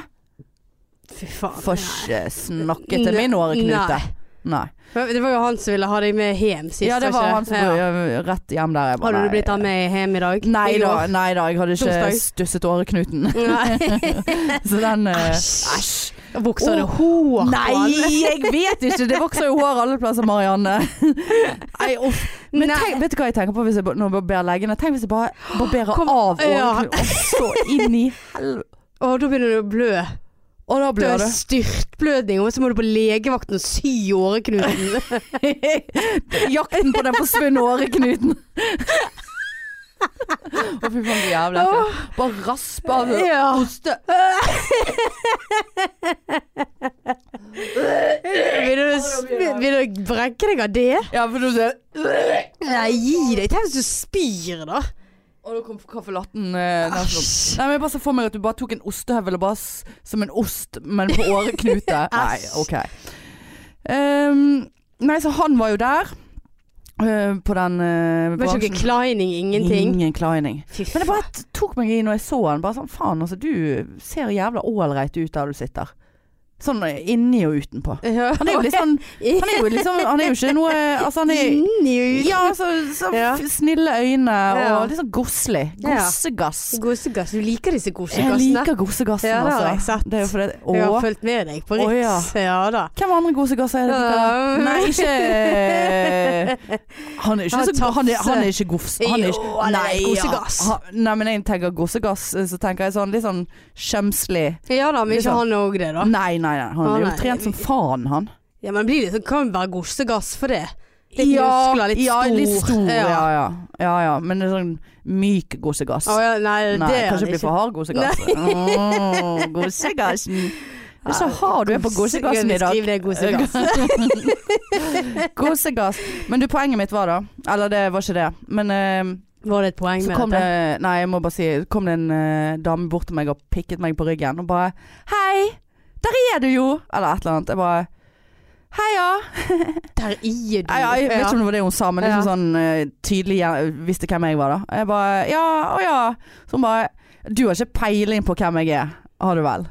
[SPEAKER 1] Fy faen.
[SPEAKER 2] Får ikke snakke til min åreknute. Nei.
[SPEAKER 1] Men Det var jo han som ville ha deg med hjem sist.
[SPEAKER 2] Ja, det var
[SPEAKER 1] ikke
[SPEAKER 2] han som
[SPEAKER 1] Ja.
[SPEAKER 2] ja. rett hjem der. Jeg bare,
[SPEAKER 1] Hadde du
[SPEAKER 2] nei.
[SPEAKER 1] blitt han med hjem i dag?
[SPEAKER 2] Nei
[SPEAKER 1] I
[SPEAKER 2] da,
[SPEAKER 1] går?
[SPEAKER 2] nei da, jeg hadde ikke
[SPEAKER 1] Torsdag.
[SPEAKER 2] stusset åreknuten.
[SPEAKER 1] Nei.
[SPEAKER 2] Så den eh,
[SPEAKER 1] Æsj.
[SPEAKER 2] Æsj.
[SPEAKER 1] Vokser det
[SPEAKER 2] Åh,
[SPEAKER 1] hår
[SPEAKER 2] Nei, jeg vet ikke. Det vokser jo hår alle plasser, Marianne. Nei, uff. Men
[SPEAKER 1] Nei.
[SPEAKER 2] tenk, vet du hva jeg tenker på hvis jeg ba- nå barberer leggene? Tenk hvis jeg bare barberer
[SPEAKER 1] Kom-
[SPEAKER 2] av
[SPEAKER 1] Ja.
[SPEAKER 2] overkroppen og så inn i helvete.
[SPEAKER 1] Å, da begynner du å blø.
[SPEAKER 2] Og da
[SPEAKER 1] Du
[SPEAKER 2] blør
[SPEAKER 1] har
[SPEAKER 2] du.
[SPEAKER 1] styrtblødning, og så må du på legevakten og sy åreknuten.
[SPEAKER 2] Jakten på den forsvunne åreknuten. Å, fy faen, så jævlig ekkelt.
[SPEAKER 1] Åh,
[SPEAKER 2] Bare raspe av
[SPEAKER 1] Ja.
[SPEAKER 2] oste.
[SPEAKER 1] Vil du, sp- vil du brekke deg av det?
[SPEAKER 2] Ja, for du ser
[SPEAKER 1] Nei, gi deg. Tenk hvis du spyr, da.
[SPEAKER 2] Og da kom caffè latten eh, nesten opp.
[SPEAKER 1] Æsj.
[SPEAKER 2] Nei, men jeg bare ser for meg at du bare tok en ostehøvel og bare s- som en ost, men på åreknute. Nei, OK. Ehm, nei, så han var jo der. eh, på den uh,
[SPEAKER 1] Det var ikke noe kleining, ingenting.
[SPEAKER 2] Ingen kleining.
[SPEAKER 1] Fy
[SPEAKER 2] Men det
[SPEAKER 1] faen.
[SPEAKER 2] bare t- tok meg i når jeg så han. Bare sånn, faen altså, du ser jævla ålreit ut der du sitter. Sånn eh, inni og utenpå. Han er jo litt sånn Han er jo, liksom, han er jo ikke noe Altså, han er
[SPEAKER 1] Inni og ut.
[SPEAKER 2] ja, så, så
[SPEAKER 1] Ja.
[SPEAKER 2] f- snille øyne
[SPEAKER 1] Ja.
[SPEAKER 2] og litt sånn gosselig.
[SPEAKER 1] Ja.
[SPEAKER 2] Gossegass.
[SPEAKER 1] Gosegass. Du liker disse
[SPEAKER 2] Jeg
[SPEAKER 1] gosegassene.
[SPEAKER 2] liker gossegassen,
[SPEAKER 1] Ja, det har jeg
[SPEAKER 2] altså.
[SPEAKER 1] sett.
[SPEAKER 2] Det er jo fordi
[SPEAKER 1] Jeg har
[SPEAKER 2] Å.
[SPEAKER 1] fulgt med deg på
[SPEAKER 2] Å, ja.
[SPEAKER 1] Riks. ja. da.
[SPEAKER 2] Hvem andre gossegasser er det?
[SPEAKER 1] Ja.
[SPEAKER 2] Nei, ikke Han er ikke,
[SPEAKER 1] Han
[SPEAKER 2] så, han er,
[SPEAKER 1] tafser.
[SPEAKER 2] han er ikke gofs. Han er ikke,
[SPEAKER 1] Jo, han er
[SPEAKER 2] Nei, ja.
[SPEAKER 1] gossegass.
[SPEAKER 2] Han- Nei, men jeg tenker gossegass, så tenker jeg sånn litt sånn skjemslig.
[SPEAKER 1] Ja da, men
[SPEAKER 2] Litt
[SPEAKER 1] ikke
[SPEAKER 2] sånn.
[SPEAKER 1] han òg det, da.
[SPEAKER 2] Nei, nei, nei. Han
[SPEAKER 1] Å,
[SPEAKER 2] er
[SPEAKER 1] nei.
[SPEAKER 2] jo trent som faen, han.
[SPEAKER 1] Ja, men blir det sånn, kan det være gosegass for det? Litt muskler, litt
[SPEAKER 2] ja,
[SPEAKER 1] stor.
[SPEAKER 2] Litt stor
[SPEAKER 1] Ja.
[SPEAKER 2] ja. Ja, ja. ja, Men det er sånn myk gossegass.
[SPEAKER 1] Å ja, nei,
[SPEAKER 2] Nei,
[SPEAKER 1] det er
[SPEAKER 2] kanskje
[SPEAKER 1] det
[SPEAKER 2] bli for hard gossegass. Åh, Gossegassen. Det er så hard du er på gossegassen i dag.
[SPEAKER 1] Skriv det, gosegass.
[SPEAKER 2] Gossegass. Men du, poenget mitt var da Eller det var ikke det. Men eh,
[SPEAKER 1] Var det et poeng
[SPEAKER 2] så
[SPEAKER 1] med
[SPEAKER 2] kom
[SPEAKER 1] dette?
[SPEAKER 2] det Nei, jeg må bare si kom det en eh, dame bort til meg og pikket meg på ryggen og bare Hei, der er du jo! Eller et eller annet. Jeg bare Heia!
[SPEAKER 1] Der i du.
[SPEAKER 2] Nei, ja, jeg vet ikke om det var det hun sa, men liksom
[SPEAKER 1] Ja.
[SPEAKER 2] sånn eh, tydelig gjen- visste hvem jeg var da. Jeg bare Ja, å ja. Så hun bare Du har ikke peiling på hvem jeg er, har du vel?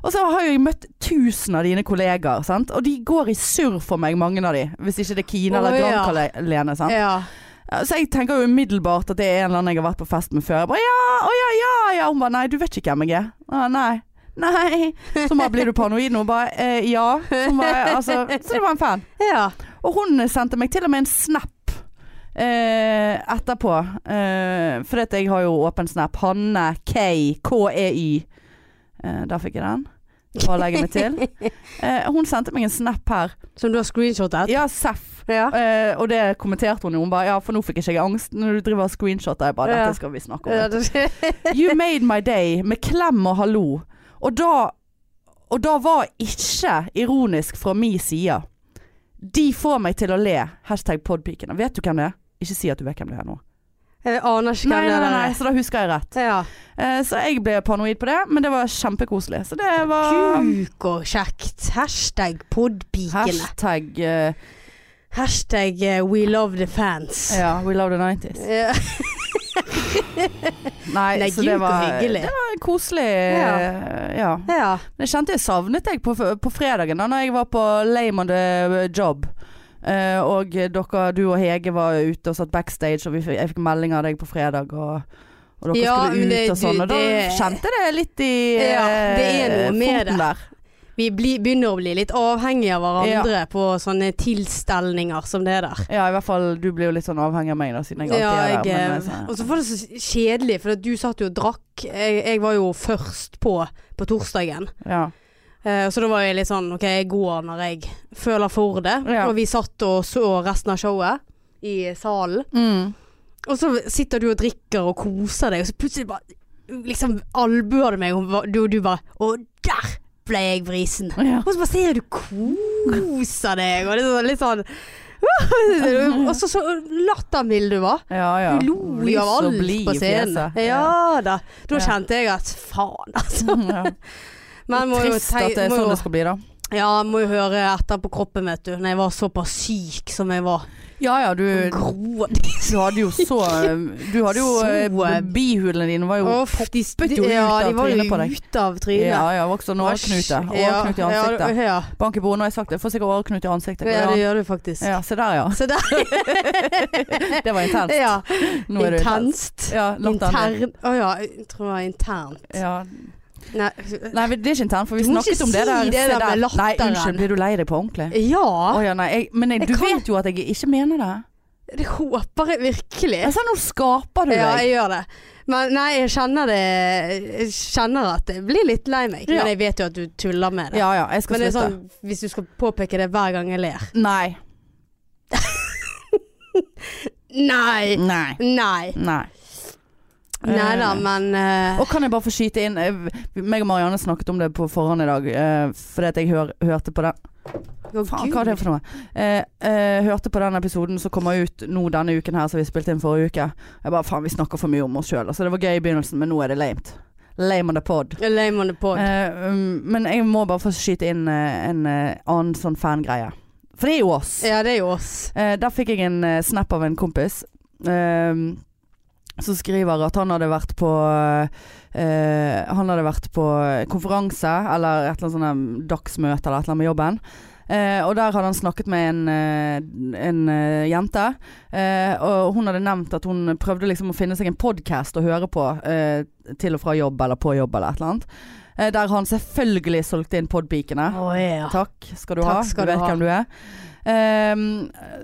[SPEAKER 2] Og så har jeg møtt tusen av dine kollegaer, sant? og de går i surr for meg, mange av de. Hvis ikke det er Kine
[SPEAKER 1] Å,
[SPEAKER 2] eller
[SPEAKER 1] ja.
[SPEAKER 2] Granca-Lene. sant?
[SPEAKER 1] Ja.
[SPEAKER 2] Ja, Så jeg tenker jo umiddelbart at det er en eller annen jeg har vært på fest med før. Jeg bare ja, å ja, ja, ja. Hun bare nei, du vet ikke hvem jeg er. Ah, nei. Nei. Så bare blir du paranoid nå? Hun Bare eh, ja. Så, hun bare, altså, så det var en fan.
[SPEAKER 1] ja.
[SPEAKER 2] Og hun sendte meg til og med en snap eh, etterpå. Eh, for at jeg har jo åpen snap. Hanne K. K-e-y. Eh, der fikk jeg den. Bare legge meg til. Eh, hun sendte meg en snap her.
[SPEAKER 1] Som du har screenshotet?
[SPEAKER 2] Ja, Seff.
[SPEAKER 1] Ja.
[SPEAKER 2] Eh, og det kommenterte hun jo. Hun bare Ja, for nå fikk ikke jeg angst når du driver og screenshoter. Jeg bare
[SPEAKER 1] Ja.
[SPEAKER 2] Dette skal vi snakke
[SPEAKER 1] Ja,
[SPEAKER 2] om.
[SPEAKER 1] det-
[SPEAKER 2] You made my day med klem og hallo. Og da Og da var ikke ironisk fra min side. De får meg til å le. Hashtag podpikene. Vet du hvem det er? Ikke si at du vet hvem det er nå.
[SPEAKER 1] Jeg aner ikke
[SPEAKER 2] Nei,
[SPEAKER 1] hvem det
[SPEAKER 2] nei,
[SPEAKER 1] er.
[SPEAKER 2] nei, nei, så da husker jeg rett.
[SPEAKER 1] Ja.
[SPEAKER 2] Eh, så jeg ble paranoid på det, men det var kjempekoselig. Så det var
[SPEAKER 1] Kuk og kjekt. Hashtag podpikene.
[SPEAKER 2] Hashtag eh,
[SPEAKER 1] Hashtag eh, we love the fans.
[SPEAKER 2] ja, we love the 90s.
[SPEAKER 1] Ja.
[SPEAKER 2] Nei,
[SPEAKER 1] Nei,
[SPEAKER 2] så
[SPEAKER 1] gud,
[SPEAKER 2] det
[SPEAKER 1] så
[SPEAKER 2] var,
[SPEAKER 1] hyggelig.
[SPEAKER 2] det var koselig. eh,
[SPEAKER 1] Ja.
[SPEAKER 2] ja.
[SPEAKER 1] Ja.
[SPEAKER 2] Men jeg kjente jeg savnet deg på, på fredagen da når jeg var på Lame on the Job. Eh, og dere, du og Hege var ute og satt backstage, og vi fikk, jeg fikk melding av deg på fredag. Og, og dere
[SPEAKER 1] Ja, men
[SPEAKER 2] skulle ut
[SPEAKER 1] det-
[SPEAKER 2] og sånn.
[SPEAKER 1] du-
[SPEAKER 2] Og da
[SPEAKER 1] det-
[SPEAKER 2] kjente det litt i
[SPEAKER 1] Ja, det er
[SPEAKER 2] eh,
[SPEAKER 1] noe med
[SPEAKER 2] foten
[SPEAKER 1] det.
[SPEAKER 2] der.
[SPEAKER 1] Vi blir, begynner å bli litt avhengige av hverandre på sånne tilstelninger som det der.
[SPEAKER 2] Ja, i hvert fall du blir jo litt sånn avhengig av meg, da, siden jeg alltid
[SPEAKER 1] Ja,
[SPEAKER 2] er
[SPEAKER 1] jeg,
[SPEAKER 2] der.
[SPEAKER 1] eh,
[SPEAKER 2] men, altså-
[SPEAKER 1] og så var det så kjedelig, for at du satt jo og drakk. Jeg, jeg var jo først på på torsdagen.
[SPEAKER 2] eh, ja.
[SPEAKER 1] Eh, så da var jeg litt sånn OK, jeg går når jeg føler for det.
[SPEAKER 2] Ja.
[SPEAKER 1] Og vi satt og så resten av showet i salen.
[SPEAKER 2] mm.
[SPEAKER 1] Og så sitter du og drikker og koser deg, og så plutselig bare Liksom albuer du meg, og hva- du, du bare Å, der ble jeg vrisen.
[SPEAKER 2] ja.
[SPEAKER 1] Og så bare ser jeg du koser deg, og det er sånn, litt sånn uh, Og så så lattermild du var.
[SPEAKER 2] ja, ja.
[SPEAKER 1] Du lo
[SPEAKER 2] Blir
[SPEAKER 1] jo av
[SPEAKER 2] så
[SPEAKER 1] alt
[SPEAKER 2] blid
[SPEAKER 1] på
[SPEAKER 2] i
[SPEAKER 1] scenen.
[SPEAKER 2] fjeset.
[SPEAKER 1] Ja da. Da
[SPEAKER 2] Ja.
[SPEAKER 1] kjente jeg at faen, altså.
[SPEAKER 2] ja.
[SPEAKER 1] Men må jo,
[SPEAKER 2] Trist
[SPEAKER 1] te
[SPEAKER 2] at det er
[SPEAKER 1] må,
[SPEAKER 2] sånn det
[SPEAKER 1] jo,
[SPEAKER 2] skal bli, da.
[SPEAKER 1] ja, må jo høre etter på kroppen, vet du. Når jeg var såpass syk som jeg var.
[SPEAKER 2] Ja ja, du,
[SPEAKER 1] Gro.
[SPEAKER 2] Du hadde jo så Du hadde jo
[SPEAKER 1] Så,
[SPEAKER 2] eh, Bihulene dine var jo
[SPEAKER 1] Uff, de
[SPEAKER 2] poppet jo ut
[SPEAKER 1] ja,
[SPEAKER 2] av
[SPEAKER 1] de var jo
[SPEAKER 2] trynet på deg.
[SPEAKER 1] Ute av trynet.
[SPEAKER 2] Ja ja, også en åreknute. Åreknute i
[SPEAKER 1] Ja, ja,
[SPEAKER 2] ansiktet.
[SPEAKER 1] Ja,
[SPEAKER 2] Bank i bordet, nå har jeg sagt det. Får sikkert åreknute i ansiktet. Går
[SPEAKER 1] ja, det
[SPEAKER 2] det an?
[SPEAKER 1] gjør du faktisk.
[SPEAKER 2] Ja, se der ja.
[SPEAKER 1] Så der,
[SPEAKER 2] Det var intenst.
[SPEAKER 1] ja.
[SPEAKER 2] Nå er det intenst.
[SPEAKER 1] Intenst.
[SPEAKER 2] Ja, latteren din.
[SPEAKER 1] Intern Å ja, jeg tror det var internt.
[SPEAKER 2] Ja.
[SPEAKER 1] Nei.
[SPEAKER 2] Nei, men det er ikke internt, for vi
[SPEAKER 1] Du må ikke
[SPEAKER 2] snakket om det
[SPEAKER 1] si
[SPEAKER 2] der.
[SPEAKER 1] det
[SPEAKER 2] Se
[SPEAKER 1] der med
[SPEAKER 2] Nei,
[SPEAKER 1] latteren.
[SPEAKER 2] unnskyld, blir du lei deg på ordentlig? Å
[SPEAKER 1] Ja,
[SPEAKER 2] ja, nei, jeg, men jeg,
[SPEAKER 1] Jeg
[SPEAKER 2] du
[SPEAKER 1] kan-
[SPEAKER 2] vet jo at jeg ikke mener det.
[SPEAKER 1] det håper jeg virkelig.
[SPEAKER 2] Jeg sa nå skaper du
[SPEAKER 1] Ja,
[SPEAKER 2] deg.
[SPEAKER 1] jeg gjør det. Men nei, jeg kjenner det Jeg kjenner at jeg blir litt lei meg.
[SPEAKER 2] Ja.
[SPEAKER 1] Men jeg vet jo at du tuller med det.
[SPEAKER 2] Ja ja, jeg skal
[SPEAKER 1] Men det er
[SPEAKER 2] slutte.
[SPEAKER 1] sånn, hvis du skal påpeke det hver gang jeg ler
[SPEAKER 2] Nei.
[SPEAKER 1] Nei!
[SPEAKER 2] Nei. Mm.
[SPEAKER 1] Nei.
[SPEAKER 2] Nei.
[SPEAKER 1] Nei da, men eh,
[SPEAKER 2] Og kan jeg bare få skyte inn eh, Meg og Marianne snakket om det på forhånd i dag, eh, fordi at jeg hør, hørte på den
[SPEAKER 1] å,
[SPEAKER 2] Faen,
[SPEAKER 1] Gud.
[SPEAKER 2] hva er det for noe? Eh, eh, hørte på den episoden som kommer ut nå denne uken her, som vi spilte inn forrige uke. Jeg bare faen, vi snakker for mye om oss sjøl. Altså, det var gøy i begynnelsen, men nå er det lamet. Lame on the pod.
[SPEAKER 1] Lame on the pod.
[SPEAKER 2] Eh, um, men jeg må bare få skyte inn eh, en eh, annen sånn fangreie. For det er jo oss.
[SPEAKER 1] Ja, det er jo oss.
[SPEAKER 2] Eh, der fikk jeg en eh, snap av en kompis eh, som skriver at han hadde vært på eh, Han hadde vært på konferanse eller et eller annet sånn eh, dagsmøte eller et eller annet med jobben. Eh, og der hadde han snakket med en, eh, en eh, jente, eh, og hun hadde nevnt at hun prøvde liksom å finne seg en podkast å høre på eh, til og fra jobb eller på jobb eller et eller annet. Eh, der han selvfølgelig solgte inn podpikene.
[SPEAKER 1] Å ja.
[SPEAKER 2] Takk skal du
[SPEAKER 1] Takk
[SPEAKER 2] ha.
[SPEAKER 1] skal
[SPEAKER 2] du
[SPEAKER 1] du
[SPEAKER 2] vet
[SPEAKER 1] ha.
[SPEAKER 2] hvem du er. Ehm,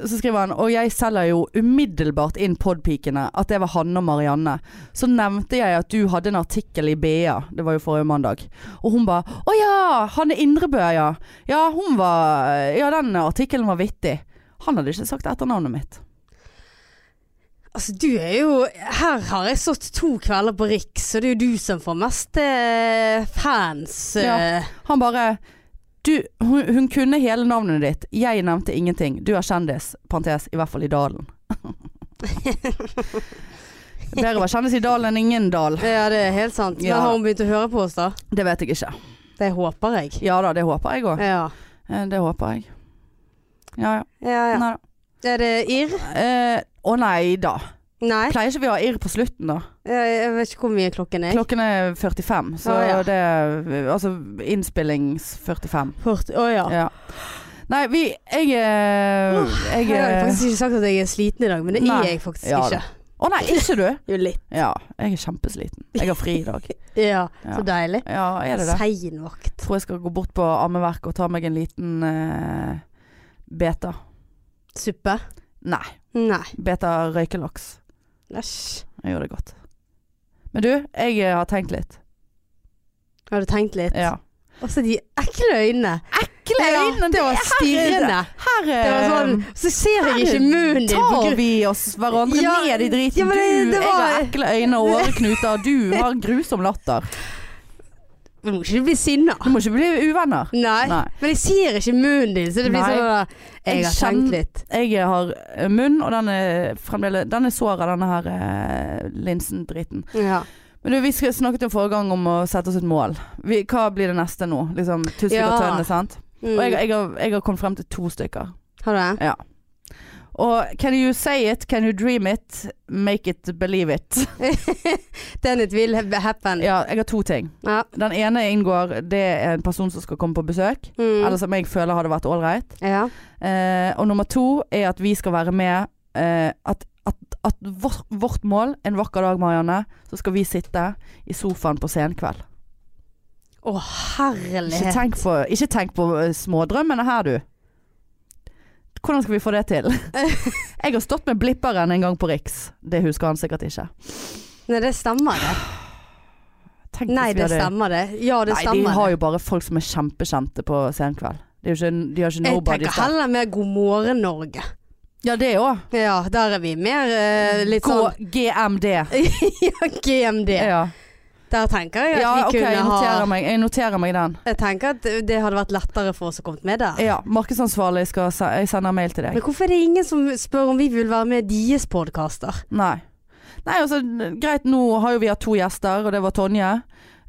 [SPEAKER 2] så skriver han Og jeg selger jo umiddelbart inn podpikene At det var Hanne og Marianne Så nevnte jeg at du hadde en artikkel i BA Det var jo forrige mandag Og hun ba Å ja, Hanne Indrebø ja Ja, hun var Ja, den artikkelen var vittig Han hadde ikke sagt etternavnet mitt
[SPEAKER 1] Altså, du er jo Her har jeg stått to kvelder på Riks, og det er jo du som får mest eh, fans.
[SPEAKER 2] Ja.
[SPEAKER 1] eh.
[SPEAKER 2] Han bare du, hun, hun kunne hele navnet ditt Jeg nevnte ingenting Du er kjendis Parentes, i hvert fall i dalen Bedre å være kjendis i dalen enn ingen dal
[SPEAKER 1] ja, det er helt sant.
[SPEAKER 2] Ja.
[SPEAKER 1] Men har hun begynt å høre på oss, da?
[SPEAKER 2] Det vet jeg ikke
[SPEAKER 1] Det håper jeg.
[SPEAKER 2] Ja da, det håper jeg òg.
[SPEAKER 1] Ja.
[SPEAKER 2] Eh, Det håper jeg. Ja, ja.
[SPEAKER 1] Ja, ja.
[SPEAKER 2] Nei da.
[SPEAKER 1] Er det irr?
[SPEAKER 2] Eh, å nei da.
[SPEAKER 1] Nei.
[SPEAKER 2] Pleier ikke vi å ha irr på slutten, da?
[SPEAKER 1] Jeg, jeg vet ikke hvor mye klokken er.
[SPEAKER 2] Klokken er 45, så
[SPEAKER 1] Å, ja.
[SPEAKER 2] det Altså innspillings 45.
[SPEAKER 1] Klokk. Å ja.
[SPEAKER 2] Ja. Nei, vi Jeg eh, Jeg
[SPEAKER 1] Jeg
[SPEAKER 2] eh,
[SPEAKER 1] har faktisk ikke sagt at jeg er sliten i dag, men det
[SPEAKER 2] Nei.
[SPEAKER 1] er jeg faktisk
[SPEAKER 2] Ja da.
[SPEAKER 1] ikke.
[SPEAKER 2] Å nei, ikke du?
[SPEAKER 1] Jo, litt.
[SPEAKER 2] Ja, jeg er kjempesliten. Jeg har fri i dag.
[SPEAKER 1] Ja,
[SPEAKER 2] Ja.
[SPEAKER 1] så deilig.
[SPEAKER 2] Ja, er det det?
[SPEAKER 1] Sein vakt.
[SPEAKER 2] Tror jeg skal gå bort på ammeverket og ta meg en liten eh, beta.
[SPEAKER 1] Suppe?
[SPEAKER 2] Nei,
[SPEAKER 1] Nei.
[SPEAKER 2] beta røykelaks.
[SPEAKER 1] Æsj.
[SPEAKER 2] Jeg gjør det godt. Men du, jeg eh, har tenkt litt.
[SPEAKER 1] Har du tenkt litt?
[SPEAKER 2] Ja.
[SPEAKER 1] Og så de ekle øynene.
[SPEAKER 2] Ekle
[SPEAKER 1] Ja,
[SPEAKER 2] øynene!
[SPEAKER 1] det var stirrende.
[SPEAKER 2] Her eh,
[SPEAKER 1] Det var sånn, så ser jeg ikke munnen din. på
[SPEAKER 2] Tar
[SPEAKER 1] grunn-
[SPEAKER 2] vi oss hverandre
[SPEAKER 1] Ja,
[SPEAKER 2] ned i driten?
[SPEAKER 1] ja, men det-
[SPEAKER 2] du,
[SPEAKER 1] det
[SPEAKER 2] jeg har
[SPEAKER 1] var-
[SPEAKER 2] ekle øyne og åreknuter. Du har grusom latter.
[SPEAKER 1] Du må ikke bli sinna.
[SPEAKER 2] Du må ikke bli uvenner.
[SPEAKER 1] Nei.
[SPEAKER 2] Nei.
[SPEAKER 1] Men jeg ser ikke munnen din, så det blir
[SPEAKER 2] Nei.
[SPEAKER 1] sånn at
[SPEAKER 2] Jeg
[SPEAKER 1] Jeg har tenkt
[SPEAKER 2] kjenner-
[SPEAKER 1] litt.
[SPEAKER 2] Jeg har eh, munn, og den er fremdeles Den er sår av denne her eh, linsen-driten.
[SPEAKER 1] Ja.
[SPEAKER 2] Men du, vi skal- snakket jo forrige gang om å sette oss et mål. Vi, hva blir det neste nå? Liksom Tusvik
[SPEAKER 1] Ja.
[SPEAKER 2] og Tønne, sant?
[SPEAKER 1] Mm.
[SPEAKER 2] Og jeg, jeg, har, jeg har kommet frem til to stykker.
[SPEAKER 1] Har du det?
[SPEAKER 2] Og can you say it, can you dream it, make it, believe it.
[SPEAKER 1] Den it will ha- happen.
[SPEAKER 2] Ja, jeg har to ting.
[SPEAKER 1] Ja.
[SPEAKER 2] Den ene inngår det er en person som skal komme på besøk.
[SPEAKER 1] Mm.
[SPEAKER 2] Eller som jeg føler hadde vært ålreit.
[SPEAKER 1] ja.
[SPEAKER 2] Eh, og nummer to er at vi skal være med eh, At, at, at vår, vårt mål en vakker dag, Marianne, så skal vi sitte i sofaen på senkveld.
[SPEAKER 1] Å,
[SPEAKER 2] Ikke
[SPEAKER 1] herlighet.
[SPEAKER 2] tenk på, ikke tenk på eh, smådrømmene her, du. Hvordan skal vi få det til? jeg har stått med blipperen en gang på Riks. Det husker han sikkert ikke.
[SPEAKER 1] Nei, det stemmer det.
[SPEAKER 2] Tenk hvis
[SPEAKER 1] Nei,
[SPEAKER 2] vi
[SPEAKER 1] det
[SPEAKER 2] hadde-
[SPEAKER 1] stemmer det. Ja, det
[SPEAKER 2] Nei, de
[SPEAKER 1] stemmer.
[SPEAKER 2] har
[SPEAKER 1] det.
[SPEAKER 2] jo bare folk som er kjempekjente på senkveld. Det er jo ikke, de har ikke
[SPEAKER 1] Jeg
[SPEAKER 2] nobody
[SPEAKER 1] tenker
[SPEAKER 2] star.
[SPEAKER 1] heller mer God morgen Norge.
[SPEAKER 2] Ja, det òg.
[SPEAKER 1] Ja, der er vi mer eh, litt sånn
[SPEAKER 2] GMD.
[SPEAKER 1] Ja, GMD.
[SPEAKER 2] Ja,
[SPEAKER 1] Der tenker jeg at
[SPEAKER 2] ja
[SPEAKER 1] vi
[SPEAKER 2] ok, jeg
[SPEAKER 1] kunne
[SPEAKER 2] noterer,
[SPEAKER 1] ha
[SPEAKER 2] meg, jeg noterer meg den.
[SPEAKER 1] Jeg tenker at det hadde vært lettere for oss å komme med der.
[SPEAKER 2] Ja, Markedsansvarlig skal se, Jeg sender mail til deg.
[SPEAKER 1] Ah. Men hvorfor er det ingen som spør om vi vil være med i deres podkaster?
[SPEAKER 2] Nei. Nei, altså, greit, nå har jo vi hatt to gjester, og det var Tonje.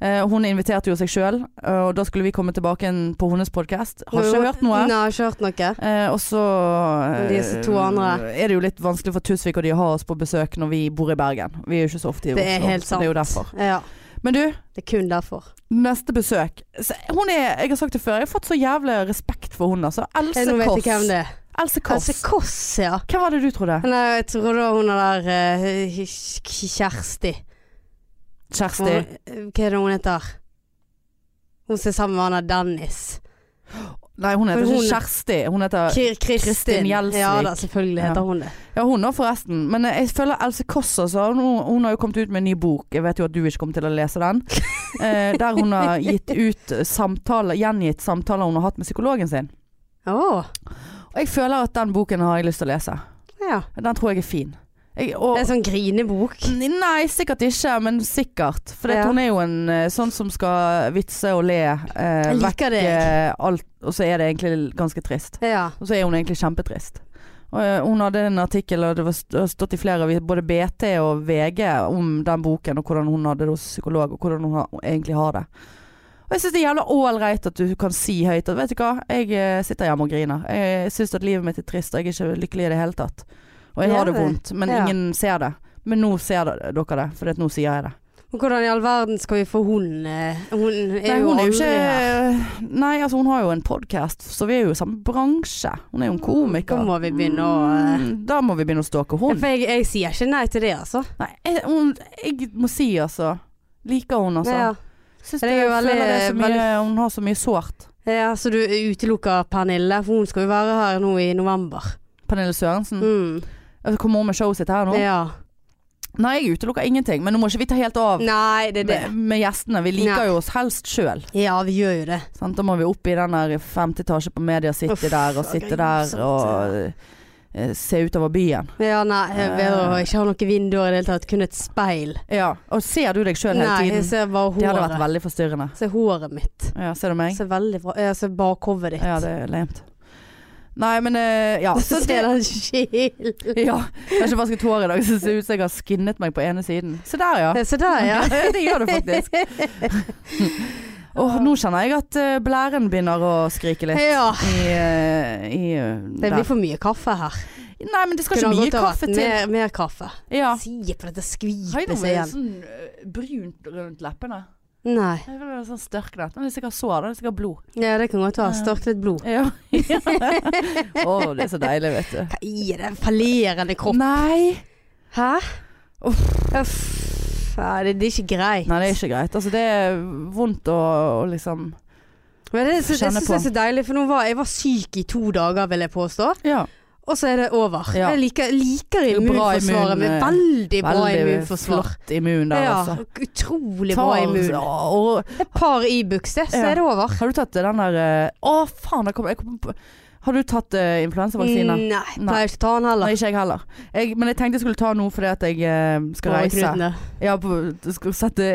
[SPEAKER 2] Eh, hun inviterte jo seg sjøl, og da skulle vi komme tilbake igjen på hennes podkast. Har ikke hørt noe.
[SPEAKER 1] Nei, har ikke hørt noe.
[SPEAKER 2] Eh, og så eh,
[SPEAKER 1] De er så to andre.
[SPEAKER 2] er det jo litt vanskelig for Tusvik og de å ha oss på besøk når vi bor i Bergen. Vi er jo ikke så ofte i Oslo.
[SPEAKER 1] Det er helt
[SPEAKER 2] så
[SPEAKER 1] sant.
[SPEAKER 2] Det er jo derfor.
[SPEAKER 1] Ja,
[SPEAKER 2] Men du,
[SPEAKER 1] det er kun derfor.
[SPEAKER 2] neste besøk Så Hun er, Jeg har sagt det før, jeg har fått så jævlig respekt for hun altså. Else
[SPEAKER 1] Jeg, nå vet
[SPEAKER 2] Kåss.
[SPEAKER 1] jeg hvem det er.
[SPEAKER 2] Else Kåss.
[SPEAKER 1] Else Kåss, ja.
[SPEAKER 2] Hvem var det du trodde?
[SPEAKER 1] Nei, jeg tror da hun er der eh, Kjersti. Hun, eh,
[SPEAKER 2] Kjersti.
[SPEAKER 1] hva er det hun heter? Hun som er sammen med han der Dennis.
[SPEAKER 2] Nei, hun heter
[SPEAKER 1] For
[SPEAKER 2] ikke
[SPEAKER 1] hun-
[SPEAKER 2] Kjersti. Hun heter
[SPEAKER 1] Kir
[SPEAKER 2] Kristin
[SPEAKER 1] Kristin.
[SPEAKER 2] Gjelsvik.
[SPEAKER 1] Ja da, selvfølgelig
[SPEAKER 2] Ja.
[SPEAKER 1] heter hun det.
[SPEAKER 2] Ja, hun òg, forresten. Men eh, jeg føler Else Kåss, altså. Hun, hun har jo kommet ut med en ny bok. Jeg vet jo at du ikke kommer til å lese den. Eh, der hun har gitt ut samtaler, gjengitt samtaler hun har hatt med psykologen sin.
[SPEAKER 1] Å,
[SPEAKER 2] Og jeg føler at den boken har jeg lyst til å lese.
[SPEAKER 1] ja.
[SPEAKER 2] Den tror jeg er fin. Jeg,
[SPEAKER 1] Det
[SPEAKER 2] og,
[SPEAKER 1] er sånn grinebok.
[SPEAKER 2] Nei, sikkert ikke, men sikkert. For det-
[SPEAKER 1] Ja.
[SPEAKER 2] hun er jo en eh, sånn som skal vitse og le eh,
[SPEAKER 1] Jeg
[SPEAKER 2] vekk
[SPEAKER 1] liker deg.
[SPEAKER 2] eh, alt, og så er det egentlig ganske trist.
[SPEAKER 1] Ja.
[SPEAKER 2] Og så er hun egentlig kjempetrist. Og, eh, hun hadde en artikkel, og det var st- har stått i flere aviser, både BT og VG, om den boken, og hvordan hun hadde det hos psykolog, og hvordan hun har, egentlig har det. Og jeg syns det er jævla ålreit at du kan si høyt at vet du hva, jeg eh, sitter hjemme og griner. Jeg syns at livet mitt er trist, og jeg er ikke lykkelig i det hele tatt. Og jeg har det
[SPEAKER 1] Ja, det-
[SPEAKER 2] vondt, men
[SPEAKER 1] ja.
[SPEAKER 2] ingen ser det. Men nå ser dere det, for at nå sier jeg det.
[SPEAKER 1] Og hvordan i all verden skal vi få hun eh, Hun er
[SPEAKER 2] Nei,
[SPEAKER 1] jo
[SPEAKER 2] hun er jo
[SPEAKER 1] aldri her.
[SPEAKER 2] ikke Nei, altså hun har jo en podkast, så vi er jo i samme bransje. Hun er jo en komiker.
[SPEAKER 1] Da må vi begynne å,
[SPEAKER 2] Mm, Da må vi begynne å stalke
[SPEAKER 1] Ja,
[SPEAKER 2] hun.
[SPEAKER 1] for jeg, jeg sier ikke nei til det, altså.
[SPEAKER 2] Nei, jeg, hun, jeg må si altså. Liker hun altså.
[SPEAKER 1] Ja.
[SPEAKER 2] Syns det,
[SPEAKER 1] Men jeg er jo veldig-
[SPEAKER 2] føler det er så mye
[SPEAKER 1] veldig-
[SPEAKER 2] Hun har så mye sårt.
[SPEAKER 1] ja, Så du utelukker Pernille, for hun skal jo være her nå i november.
[SPEAKER 2] Pernille Sørensen.
[SPEAKER 1] Mm.
[SPEAKER 2] Altså, Kommer hun med showet sitt her nå?
[SPEAKER 1] Ja.
[SPEAKER 2] Nei, jeg utelukker ingenting, men nå må ikke vi ta helt av
[SPEAKER 1] Nei, det er det.
[SPEAKER 2] med, med gjestene. Vi liker
[SPEAKER 1] Nei.
[SPEAKER 2] jo oss helst sjøl.
[SPEAKER 1] Ja, vi gjør jo det.
[SPEAKER 2] Sant? Da må vi opp i den der femte etasje på Media City
[SPEAKER 1] Uff,
[SPEAKER 2] der, og
[SPEAKER 1] så
[SPEAKER 2] sitte
[SPEAKER 1] grusomt,
[SPEAKER 2] der og eh, se utover byen.
[SPEAKER 1] Ja, nei, jeg
[SPEAKER 2] Ah.
[SPEAKER 1] ved å ikke ha noen vinduer i det hele tatt, kun et speil.
[SPEAKER 2] Ja, Og ser du deg sjøl hele
[SPEAKER 1] Nei, jeg
[SPEAKER 2] tiden?
[SPEAKER 1] ser bare
[SPEAKER 2] Det hadde vært
[SPEAKER 1] håret.
[SPEAKER 2] veldig forstyrrende.
[SPEAKER 1] Jeg ser håret mitt.
[SPEAKER 2] Ja, ser du meg?
[SPEAKER 1] Jeg ser veldig bra Jeg ser bakhåret ditt.
[SPEAKER 2] Ja, det er lamet. Nei, men eh, ja.
[SPEAKER 1] Så ser den skil.
[SPEAKER 2] Ja, jeg har ikke vasket hår i dag, så det ser ut som jeg har skinnet meg på ene siden. Se der, ja.
[SPEAKER 1] Se der, ja.
[SPEAKER 2] det gjør det faktisk. Åh, nå kjenner jeg at eh, blæren begynner å skrike litt.
[SPEAKER 1] Ja.
[SPEAKER 2] I, eh, i, eh,
[SPEAKER 1] Det
[SPEAKER 2] der.
[SPEAKER 1] blir for mye kaffe her.
[SPEAKER 2] Nei, men det skal ikke
[SPEAKER 1] Kunne ha
[SPEAKER 2] mye
[SPEAKER 1] godt av
[SPEAKER 2] kaffe til.
[SPEAKER 1] Mer, mer kaffe.
[SPEAKER 2] Ja.
[SPEAKER 1] Si på dette skvipet seg igjen.
[SPEAKER 2] sånn brunt rundt leppene.
[SPEAKER 1] Nei.
[SPEAKER 2] Jeg vil ha sånn størknet. Men det er sikkert sår, det er sikkert blod.
[SPEAKER 1] Ja, det kan godt være. Størk litt blod.
[SPEAKER 2] Ja. Å, det er så deilig, vet du.
[SPEAKER 1] Hva er det? Fallerende kropp.
[SPEAKER 2] Nei.
[SPEAKER 1] Hæ?
[SPEAKER 2] Uff.
[SPEAKER 1] Uff. Ja, det, det er ikke greit.
[SPEAKER 2] Nei, det er ikke greit. Altså, det er vondt å, å liksom
[SPEAKER 1] Men det, det, det
[SPEAKER 2] Kjenne
[SPEAKER 1] syns jeg er så deilig, for nå var jeg var syk i to dager, vil jeg påstå.
[SPEAKER 2] Ja.
[SPEAKER 1] Og så er det over.
[SPEAKER 2] Ja.
[SPEAKER 1] Jeg liker, liker
[SPEAKER 2] Jo, bra immun,
[SPEAKER 1] immunforsvaret mitt.
[SPEAKER 2] eh,
[SPEAKER 1] Veldig bra
[SPEAKER 2] Veldig
[SPEAKER 1] immunforsvar.
[SPEAKER 2] flott immun der,
[SPEAKER 1] Ja,
[SPEAKER 2] altså.
[SPEAKER 1] utrolig
[SPEAKER 2] Ta-
[SPEAKER 1] bra immun.
[SPEAKER 2] Ja, og,
[SPEAKER 1] Et par Ibux, det, så
[SPEAKER 2] Ja.
[SPEAKER 1] er det over.
[SPEAKER 2] har du tatt den der eh, Å, faen! Jeg kom, jeg kom på, har du tatt eh, influensavaksine?
[SPEAKER 1] Nei, pleier ikke å ta den
[SPEAKER 2] Nei,
[SPEAKER 1] heller.
[SPEAKER 2] ikke jeg heller. Jeg, men jeg tenkte jeg skulle ta noe fordi at jeg eh, skal reise.
[SPEAKER 1] Åreknutene.
[SPEAKER 2] Ja, på, skal sette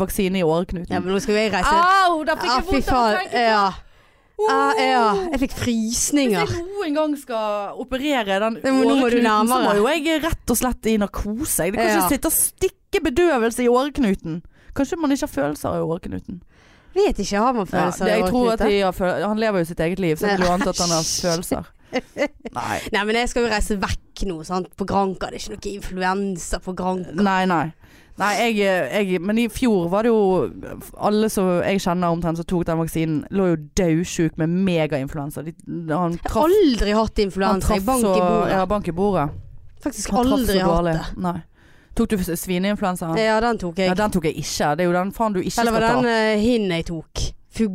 [SPEAKER 2] vaksine i
[SPEAKER 1] Ja,
[SPEAKER 2] åreknuten.
[SPEAKER 1] men nå skal jo jeg reise.
[SPEAKER 2] Au! Da
[SPEAKER 1] Ah, fy faen. Ja. Ah, ja. Jeg fikk frysninger.
[SPEAKER 2] Hvis jeg noen gang skal operere den
[SPEAKER 1] Det må- nå må du
[SPEAKER 2] åreknuten, så må
[SPEAKER 1] nærmere.
[SPEAKER 2] jo jeg rett og slett i narkose. Jeg kan
[SPEAKER 1] Ja.
[SPEAKER 2] ikke sitte og stikke bedøvelse i åreknuten. Kanskje man ikke har følelser i åreknuten.
[SPEAKER 1] Vet ikke, har man
[SPEAKER 2] Ja,
[SPEAKER 1] følelser
[SPEAKER 2] det, jeg
[SPEAKER 1] i
[SPEAKER 2] tror at
[SPEAKER 1] åreknuten?
[SPEAKER 2] de har føl Han lever jo sitt eget liv, så jeg vil jo anta at han har
[SPEAKER 1] Æsj.
[SPEAKER 2] følelser. Nei,
[SPEAKER 1] Nei, men jeg skal jo reise vekk nå, sant. På Granka. Det er ikke noe influensa på Granka.
[SPEAKER 2] nei. nei. Nei, jeg, jeg, men i fjor var det jo Alle som jeg kjenner omtrent som tok den vaksinen, lå jo dødsjuk med megainfluensa. De- Han
[SPEAKER 1] Jeg
[SPEAKER 2] traff
[SPEAKER 1] har aldri hatt
[SPEAKER 2] han
[SPEAKER 1] influensa.
[SPEAKER 2] traff
[SPEAKER 1] Jeg banker i
[SPEAKER 2] så-
[SPEAKER 1] bordet.
[SPEAKER 2] Ja, bank i bordet.
[SPEAKER 1] Faktisk
[SPEAKER 2] Han traff
[SPEAKER 1] aldri
[SPEAKER 2] så
[SPEAKER 1] hatt
[SPEAKER 2] dårlig.
[SPEAKER 1] det.
[SPEAKER 2] Nei. Tok du svineinfluensaen?
[SPEAKER 1] Ja, den tok jeg.
[SPEAKER 2] Ja, den tok jeg ikke. Det er jo den faen du ikke
[SPEAKER 1] Eller
[SPEAKER 2] skal
[SPEAKER 1] var
[SPEAKER 2] ta.
[SPEAKER 1] den uh, hinnen jeg tok?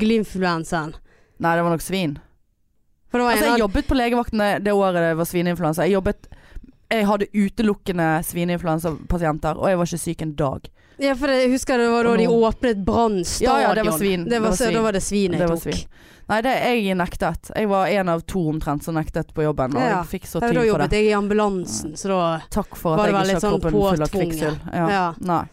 [SPEAKER 1] Fugleinfluensaen.
[SPEAKER 2] Nei, det var nok svin.
[SPEAKER 1] For det var en
[SPEAKER 2] Altså, jeg
[SPEAKER 1] annen-
[SPEAKER 2] jobbet på legevakten det- det året det var svineinfluensa. Jeg jobbet jeg hadde utelukkende svineinfluensapasienter, og jeg var ikke syk en dag.
[SPEAKER 1] Ja, for jeg husker det var da
[SPEAKER 2] Og
[SPEAKER 1] de
[SPEAKER 2] nå-
[SPEAKER 1] åpnet Brann stadion.
[SPEAKER 2] Ja, ja, det var svin.
[SPEAKER 1] Det
[SPEAKER 2] Det
[SPEAKER 1] var,
[SPEAKER 2] var
[SPEAKER 1] så-
[SPEAKER 2] svin.
[SPEAKER 1] Da var det svin jeg
[SPEAKER 2] Det var
[SPEAKER 1] tok.
[SPEAKER 2] svin. Nei, det jeg nektet. Jeg var en av to omtrent som nektet på jobben, og
[SPEAKER 1] Ja.
[SPEAKER 2] jeg fikk så
[SPEAKER 1] Ja, da
[SPEAKER 2] tyn for
[SPEAKER 1] jobbet
[SPEAKER 2] det.
[SPEAKER 1] jeg i ambulansen, så da
[SPEAKER 2] Takk for at
[SPEAKER 1] Var det
[SPEAKER 2] jeg
[SPEAKER 1] vel
[SPEAKER 2] ikke
[SPEAKER 1] litt
[SPEAKER 2] har
[SPEAKER 1] sånn
[SPEAKER 2] kroppen full av
[SPEAKER 1] påtvunget?
[SPEAKER 2] kvikksølv.
[SPEAKER 1] Ja.
[SPEAKER 2] Ja. Nei.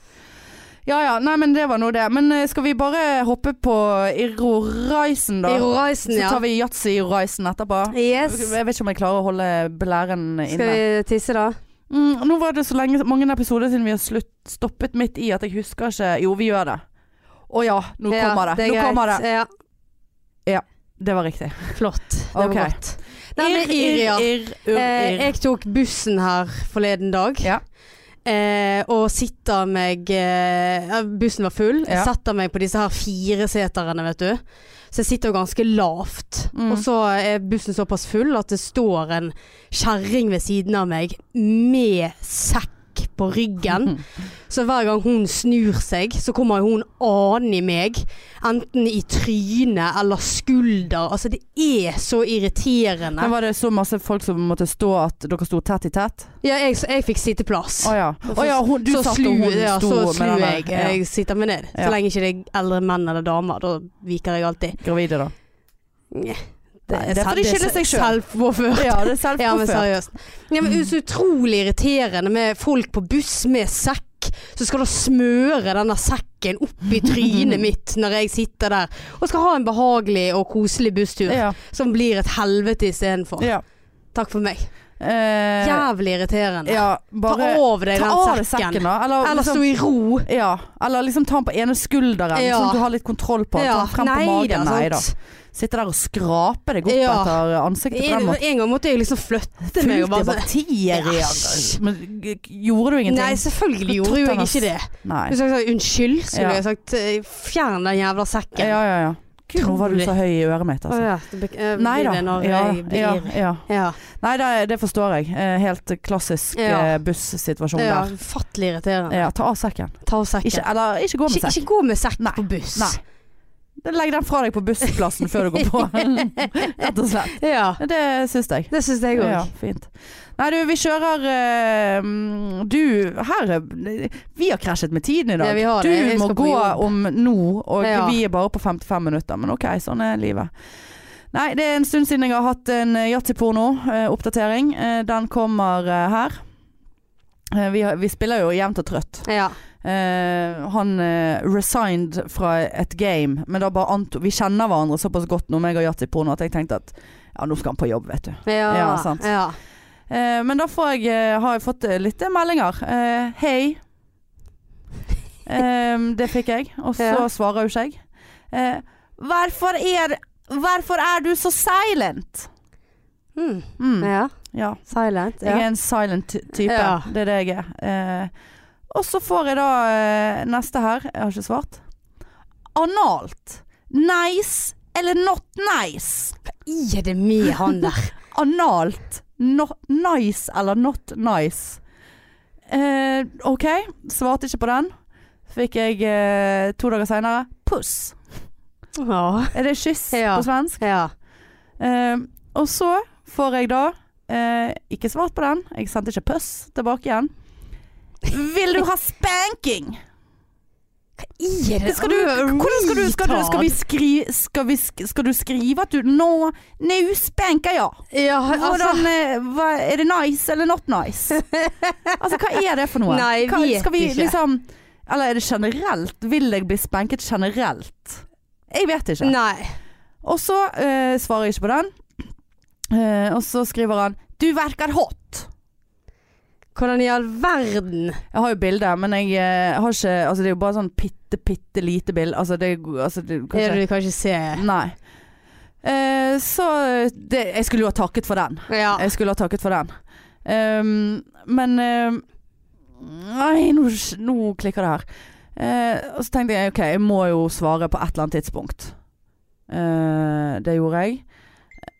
[SPEAKER 2] Ja ja, nei men det var nå det. Men eh, skal vi bare hoppe på Irro Reisen da?
[SPEAKER 1] I Horizon,
[SPEAKER 2] Så
[SPEAKER 1] ja.
[SPEAKER 2] tar vi Yatzy Reisen etterpå.
[SPEAKER 1] Yes.
[SPEAKER 2] Jeg vet ikke om jeg klarer å holde belæren
[SPEAKER 1] Skal
[SPEAKER 2] inne.
[SPEAKER 1] vi tisse, da?
[SPEAKER 2] Mm, nå var det så lenge, mange episoder siden vi har slutt, stoppet midt i at jeg husker ikke Jo, vi gjør det. Å ja, nå
[SPEAKER 1] ja,
[SPEAKER 2] kommer det.
[SPEAKER 1] er
[SPEAKER 2] nå
[SPEAKER 1] greit.
[SPEAKER 2] kommer det.
[SPEAKER 1] Ja,
[SPEAKER 2] Det var riktig.
[SPEAKER 1] flott. Det
[SPEAKER 2] Ok.
[SPEAKER 1] var godt. Nei, men Iria.
[SPEAKER 2] irr, irr,
[SPEAKER 1] Eh,
[SPEAKER 2] irr.
[SPEAKER 1] jeg tok bussen her forleden dag.
[SPEAKER 2] Ja.
[SPEAKER 1] Eh, og sitter meg eh, ja, Bussen var full. Jeg
[SPEAKER 2] Ja.
[SPEAKER 1] setter meg på disse her fireseterne, vet du. Så jeg sitter jo ganske lavt.
[SPEAKER 2] Mm.
[SPEAKER 1] Og så er bussen såpass full at det står en kjerring ved siden av meg med sekk på ryggen.
[SPEAKER 2] Mm.
[SPEAKER 1] Så hver gang hun snur seg, så kommer jo hun annen i meg. Enten i trynet eller skulder. Altså, det er så irriterende.
[SPEAKER 2] Men var det så masse folk som måtte stå at dere sto tett i tett?
[SPEAKER 1] Ja, jeg, jeg fikk sitteplass.
[SPEAKER 2] Å ja. Å ja, hun, du
[SPEAKER 1] så
[SPEAKER 2] satt
[SPEAKER 1] slu,
[SPEAKER 2] og hun
[SPEAKER 1] ja,
[SPEAKER 2] sto
[SPEAKER 1] så
[SPEAKER 2] med
[SPEAKER 1] slu
[SPEAKER 2] den
[SPEAKER 1] jeg. eh,
[SPEAKER 2] der. Ja.
[SPEAKER 1] Jeg sitter meg ned. Så
[SPEAKER 2] Ja.
[SPEAKER 1] lenge ikke det er eldre menn eller damer, da viker jeg alltid.
[SPEAKER 2] Gravide, da.
[SPEAKER 1] Det
[SPEAKER 2] Nei, det er for de skylder seg selv.
[SPEAKER 1] Selvpåført.
[SPEAKER 2] Ja, det er
[SPEAKER 1] Ja, men
[SPEAKER 2] selvpåført.
[SPEAKER 1] seriøst. Ja, men det er så utrolig irriterende med folk på buss med sekk. Så skal du smøre denne sekken opp i trynet mitt når jeg sitter der og skal ha en behagelig og koselig busstur
[SPEAKER 2] Ja,
[SPEAKER 1] som blir et helvete istedenfor.
[SPEAKER 2] ja.
[SPEAKER 1] Takk for meg.
[SPEAKER 2] Eh,
[SPEAKER 1] Jævlig irriterende.
[SPEAKER 2] ja, bare
[SPEAKER 1] ta av deg
[SPEAKER 2] ta
[SPEAKER 1] den
[SPEAKER 2] av deg
[SPEAKER 1] sekken.
[SPEAKER 2] sekken, da. Eller,
[SPEAKER 1] Eller
[SPEAKER 2] liksom,
[SPEAKER 1] stå i ro.
[SPEAKER 2] ja. eller liksom ta den på ene skulderen,
[SPEAKER 1] Ja.
[SPEAKER 2] sånn at du har litt kontroll på den. Ta den frem på magen. Nei da. Sitte der og skrape deg opp
[SPEAKER 1] Ja.
[SPEAKER 2] etter ansiktet på den
[SPEAKER 1] En,
[SPEAKER 2] måten.
[SPEAKER 1] en gang måtte jeg liksom flytte meg.
[SPEAKER 2] Fylt
[SPEAKER 1] Og
[SPEAKER 2] i
[SPEAKER 1] bare,
[SPEAKER 2] bakterier.
[SPEAKER 1] Æsj.
[SPEAKER 2] Men g- gjorde du
[SPEAKER 1] sånn-
[SPEAKER 2] ingenting?
[SPEAKER 1] nei, selvfølgelig gjorde jo jeg ikke det.
[SPEAKER 2] Nei.
[SPEAKER 1] Hvis jeg sa unnskyld, skulle
[SPEAKER 2] Ja.
[SPEAKER 1] jeg sagt eh, fjern den jævla sekken.
[SPEAKER 2] Ja, ja, ja. Gud, nå var du så høy i øret mitt,
[SPEAKER 1] Å
[SPEAKER 2] altså.
[SPEAKER 1] ja, det blir- jeg
[SPEAKER 2] Nei
[SPEAKER 1] blir
[SPEAKER 2] da.
[SPEAKER 1] det når
[SPEAKER 2] Ja,
[SPEAKER 1] jeg blir
[SPEAKER 2] ja, ja.
[SPEAKER 1] Ja.
[SPEAKER 2] Nei, det, det forstår jeg. Eh, Helt klassisk
[SPEAKER 1] Ja.
[SPEAKER 2] eh, bussituasjon
[SPEAKER 1] ja.
[SPEAKER 2] der.
[SPEAKER 1] Ufattelig irriterende.
[SPEAKER 2] Ja, ta av sekken.
[SPEAKER 1] Ta av sekken.
[SPEAKER 2] Ikke, eller ikke gå med
[SPEAKER 1] Ikke,
[SPEAKER 2] sekk.
[SPEAKER 1] ikke gå med sekk
[SPEAKER 2] Nei.
[SPEAKER 1] på buss.
[SPEAKER 2] Nei. Legg den fra deg på bussplassen før du går på. Rett og slett.
[SPEAKER 1] Ja,
[SPEAKER 2] Det syns jeg.
[SPEAKER 1] det syns jeg òg.
[SPEAKER 2] Ja, fint. Nei, du, vi kjører eh, mm, Du, her er- Vi har krasjet med tiden i dag.
[SPEAKER 1] Ja, vi har
[SPEAKER 2] du
[SPEAKER 1] det. Jeg
[SPEAKER 2] må
[SPEAKER 1] skal
[SPEAKER 2] gå
[SPEAKER 1] på jobb.
[SPEAKER 2] om nå, og
[SPEAKER 1] Ja.
[SPEAKER 2] vi er bare på 55 minutter. Men OK, sånn er livet. Nei, det er en stund siden jeg har hatt en eh, yatzyporno-oppdatering. Eh, den kommer eh, her. Eh, vi, har, vi spiller jo jevnt og trøtt.
[SPEAKER 1] Ja.
[SPEAKER 2] Eh, han eh, resigned fra et game, men da bare anto Vi kjenner hverandre såpass godt nå, meg og Yatzy porno, at jeg tenkte at ja, nå skal han på jobb, vet du.
[SPEAKER 1] Ja.
[SPEAKER 2] Ja, sant.
[SPEAKER 1] Ja.
[SPEAKER 2] Eh, men da får jeg, eh, har jeg fått eh, litt meldinger. Eh, Hei. Em, det fikk jeg, og så
[SPEAKER 1] Ja.
[SPEAKER 2] svarer jo ikke jeg. Eh, hvorfor, er, hvorfor er du så silent?
[SPEAKER 1] Mm.
[SPEAKER 2] Mm,
[SPEAKER 1] ja.
[SPEAKER 2] ja.
[SPEAKER 1] Silent.
[SPEAKER 2] Jeg
[SPEAKER 1] Ja.
[SPEAKER 2] er en silent ty- type.
[SPEAKER 1] Ja.
[SPEAKER 2] Det er det jeg er. Eh, og så får jeg da eh, neste her. Jeg har ikke svart. Analt. Nice eller not nice?
[SPEAKER 1] I er det med han der.
[SPEAKER 2] Analt. No, nice eller not nice? Eh, OK, svarte ikke på den. Fikk jeg eh, to dager seinere puss.
[SPEAKER 1] Ja.
[SPEAKER 2] Er det kyss
[SPEAKER 1] Ja.
[SPEAKER 2] på svensk?
[SPEAKER 1] ja.
[SPEAKER 2] Eh, og så får jeg da eh, Ikke svart på den. Jeg sendte ikke puss tilbake igjen. Vil du ha spanking?
[SPEAKER 1] I er det
[SPEAKER 2] Skal du, hvordan skal du, skal du, skal vi skri, skal, vi, sk- skal du skrive at du Nå, nå spanker jeg.
[SPEAKER 1] Ja, altså
[SPEAKER 2] Hvordan, eh, hva, er det nice eller not nice? Altså, hva er det for noe?
[SPEAKER 1] Nei,
[SPEAKER 2] hva,
[SPEAKER 1] vet
[SPEAKER 2] skal vi
[SPEAKER 1] ikke.
[SPEAKER 2] liksom Eller er det generelt? Vil jeg bli spanket generelt? Jeg vet ikke.
[SPEAKER 1] Nei.
[SPEAKER 2] Og så eh, svarer jeg ikke på den. Eh, og så skriver han 'Du verker hot'.
[SPEAKER 1] Hvordan i all verden
[SPEAKER 2] Jeg har jo bilde, men jeg eh, har ikke Altså, det er jo bare sånn bitte, bitte lite bilde. Altså, det altså, det,
[SPEAKER 1] er det
[SPEAKER 2] kanskje,
[SPEAKER 1] du kan ikke se?
[SPEAKER 2] Nei. Eh, så det, Jeg skulle jo ha takket for den.
[SPEAKER 1] Ja.
[SPEAKER 2] Jeg skulle ha takket for den. Ehm, men ehm, Nei, nå, nå klikker det her. Eh, og så tenkte jeg OK, jeg må jo svare på et eller annet tidspunkt. Eh, det gjorde jeg.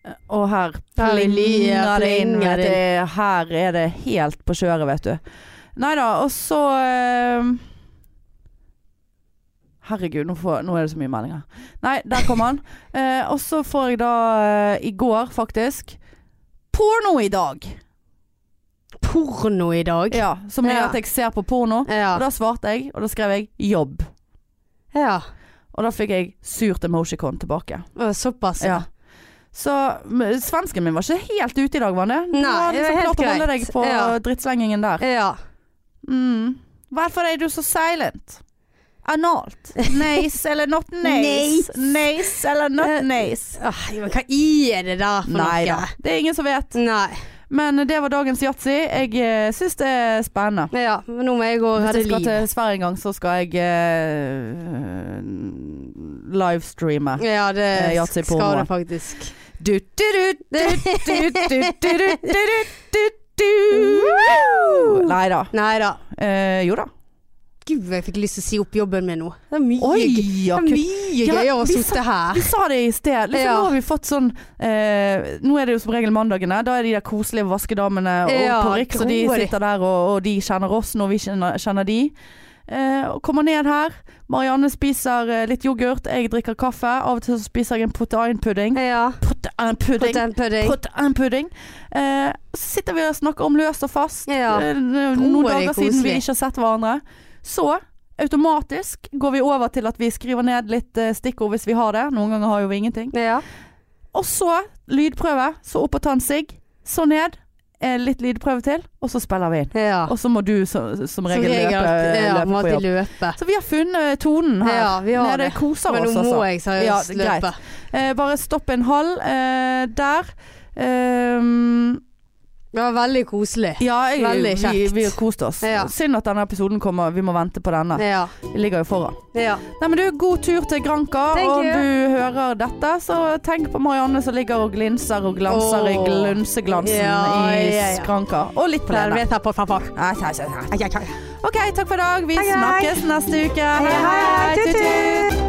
[SPEAKER 2] Eh, Og her
[SPEAKER 1] Her er
[SPEAKER 2] plinger
[SPEAKER 1] lia,
[SPEAKER 2] det inn. Vet
[SPEAKER 1] plinger det
[SPEAKER 2] du. Her er det helt på kjøret, vet du. Nei da, og så ehm, Herregud, nå, får, nå er det så mye meldinger. Nei, der kom han. Eh, og så får jeg da, eh, i går faktisk, porno i dag.
[SPEAKER 1] Porno i dag.
[SPEAKER 2] Ja, som er
[SPEAKER 1] Ja.
[SPEAKER 2] at jeg ser på porno. Og
[SPEAKER 1] Ja.
[SPEAKER 2] da svarte jeg, og da skrev jeg 'jobb'.
[SPEAKER 1] ja.
[SPEAKER 2] Og da fikk jeg surt emoticon tilbake.
[SPEAKER 1] Å, Såpass,
[SPEAKER 2] Ja. Så men svensken min var ikke helt ute i dag, var han det?
[SPEAKER 1] Nei,
[SPEAKER 2] du har
[SPEAKER 1] det var
[SPEAKER 2] liksom
[SPEAKER 1] helt
[SPEAKER 2] klart å holde
[SPEAKER 1] greit.
[SPEAKER 2] deg på
[SPEAKER 1] Ja.
[SPEAKER 2] drittslengingen der.
[SPEAKER 1] Ja.
[SPEAKER 2] Mm. Hvorfor er du så silent? Analt. Nice eller not nice?
[SPEAKER 1] Nice.
[SPEAKER 2] Nice eller
[SPEAKER 1] Eh,
[SPEAKER 2] not nice?
[SPEAKER 1] Åh, men hva er det der for
[SPEAKER 2] Nei da.
[SPEAKER 1] noe?
[SPEAKER 2] Det er ingen som vet.
[SPEAKER 1] Nei.
[SPEAKER 2] Men det var dagens yatzy. Jeg eh, syns det er spennende.
[SPEAKER 1] Ja, men nå må jeg gå og
[SPEAKER 2] Hvis
[SPEAKER 1] redde
[SPEAKER 2] jeg skal
[SPEAKER 1] liv.
[SPEAKER 2] til Sverige en gang, så skal jeg eh, livestreame.
[SPEAKER 1] Ja, det
[SPEAKER 2] Eh, yatzy på
[SPEAKER 1] skal
[SPEAKER 2] noe.
[SPEAKER 1] det faktisk.
[SPEAKER 2] Du, du, du, du, du, du, du, du, du, du, du. Nei da.
[SPEAKER 1] Nei da.
[SPEAKER 2] Eh, jo da.
[SPEAKER 1] Gud, jeg fikk lyst til å si opp jobben min nå. Det er mye, gøy.
[SPEAKER 2] ja,
[SPEAKER 1] det er mye
[SPEAKER 2] Ja,
[SPEAKER 1] gøyere å
[SPEAKER 2] vi
[SPEAKER 1] sitte her.
[SPEAKER 2] Vi sa det i sted. Liksom,
[SPEAKER 1] Ja.
[SPEAKER 2] Nå har vi fått sånn eh, Nå er det jo som regel mandagene. Da er de der koselige vaskedamene og
[SPEAKER 1] Ja,
[SPEAKER 2] parykk, så de
[SPEAKER 1] gror de.
[SPEAKER 2] sitter der, og, og de kjenner oss når vi kjenner, kjenner de. Eh, og kommer ned her. Marianne spiser eh, litt yoghurt, jeg drikker kaffe. Av og til så spiser jeg en proteinpudding.
[SPEAKER 1] Ja.
[SPEAKER 2] Proteinpudding.
[SPEAKER 1] Potent pudding.
[SPEAKER 2] Proteinpudding. Eh, så sitter vi og snakker om løst og fast.
[SPEAKER 1] Ja.
[SPEAKER 2] Eh,
[SPEAKER 1] Gror
[SPEAKER 2] noen
[SPEAKER 1] de
[SPEAKER 2] dager siden vi
[SPEAKER 1] koselig.
[SPEAKER 2] ikke har sett hverandre. Så automatisk går vi over til at vi skriver ned litt eh, stikkord hvis vi har det. Noen ganger har jo vi ingenting.
[SPEAKER 1] Ja.
[SPEAKER 2] Og så lydprøve. Så opp og ta en sigg. Så ned. Eh, Litt lydprøve til, og så spiller vi inn.
[SPEAKER 1] Ja.
[SPEAKER 2] Og så må du så, som regel løpe,
[SPEAKER 1] ja,
[SPEAKER 2] løpe
[SPEAKER 1] må
[SPEAKER 2] på
[SPEAKER 1] alltid
[SPEAKER 2] jobb.
[SPEAKER 1] løpe.
[SPEAKER 2] Så vi har funnet eh, tonen her.
[SPEAKER 1] Ja, vi har
[SPEAKER 2] Nede
[SPEAKER 1] det.
[SPEAKER 2] koser
[SPEAKER 1] Men
[SPEAKER 2] oss,
[SPEAKER 1] nå
[SPEAKER 2] altså.
[SPEAKER 1] må jeg seriøst
[SPEAKER 2] Ja, greit.
[SPEAKER 1] løpe.
[SPEAKER 2] Eh, bare stopp en halv eh, der. Ehm,
[SPEAKER 1] Det var veldig koselig.
[SPEAKER 2] ja, jeg,
[SPEAKER 1] Veldig
[SPEAKER 2] vi,
[SPEAKER 1] kjekt.
[SPEAKER 2] vi har kost oss.
[SPEAKER 1] Ja.
[SPEAKER 2] Synd at denne episoden kommer. Vi må vente på denne.
[SPEAKER 1] Ja.
[SPEAKER 2] Vi ligger jo foran.
[SPEAKER 1] ja.
[SPEAKER 2] Nei, men du, God tur til Granka.
[SPEAKER 1] Thank
[SPEAKER 2] og
[SPEAKER 1] you.
[SPEAKER 2] du hører dette, så tenk på Marianne som ligger og glinser og glanser i
[SPEAKER 1] Åh.
[SPEAKER 2] glunseglansen
[SPEAKER 1] Ja,
[SPEAKER 2] i
[SPEAKER 1] ja, ja.
[SPEAKER 2] Skranka. Og litt på
[SPEAKER 1] Pleier
[SPEAKER 2] denne.
[SPEAKER 1] vi å ta på pappa.
[SPEAKER 2] sånn. OK, takk for i dag. Vi
[SPEAKER 1] Hei, hei.
[SPEAKER 2] snakkes neste uke.
[SPEAKER 1] Hei, hei. Tut, tut.
[SPEAKER 2] Tut, tut.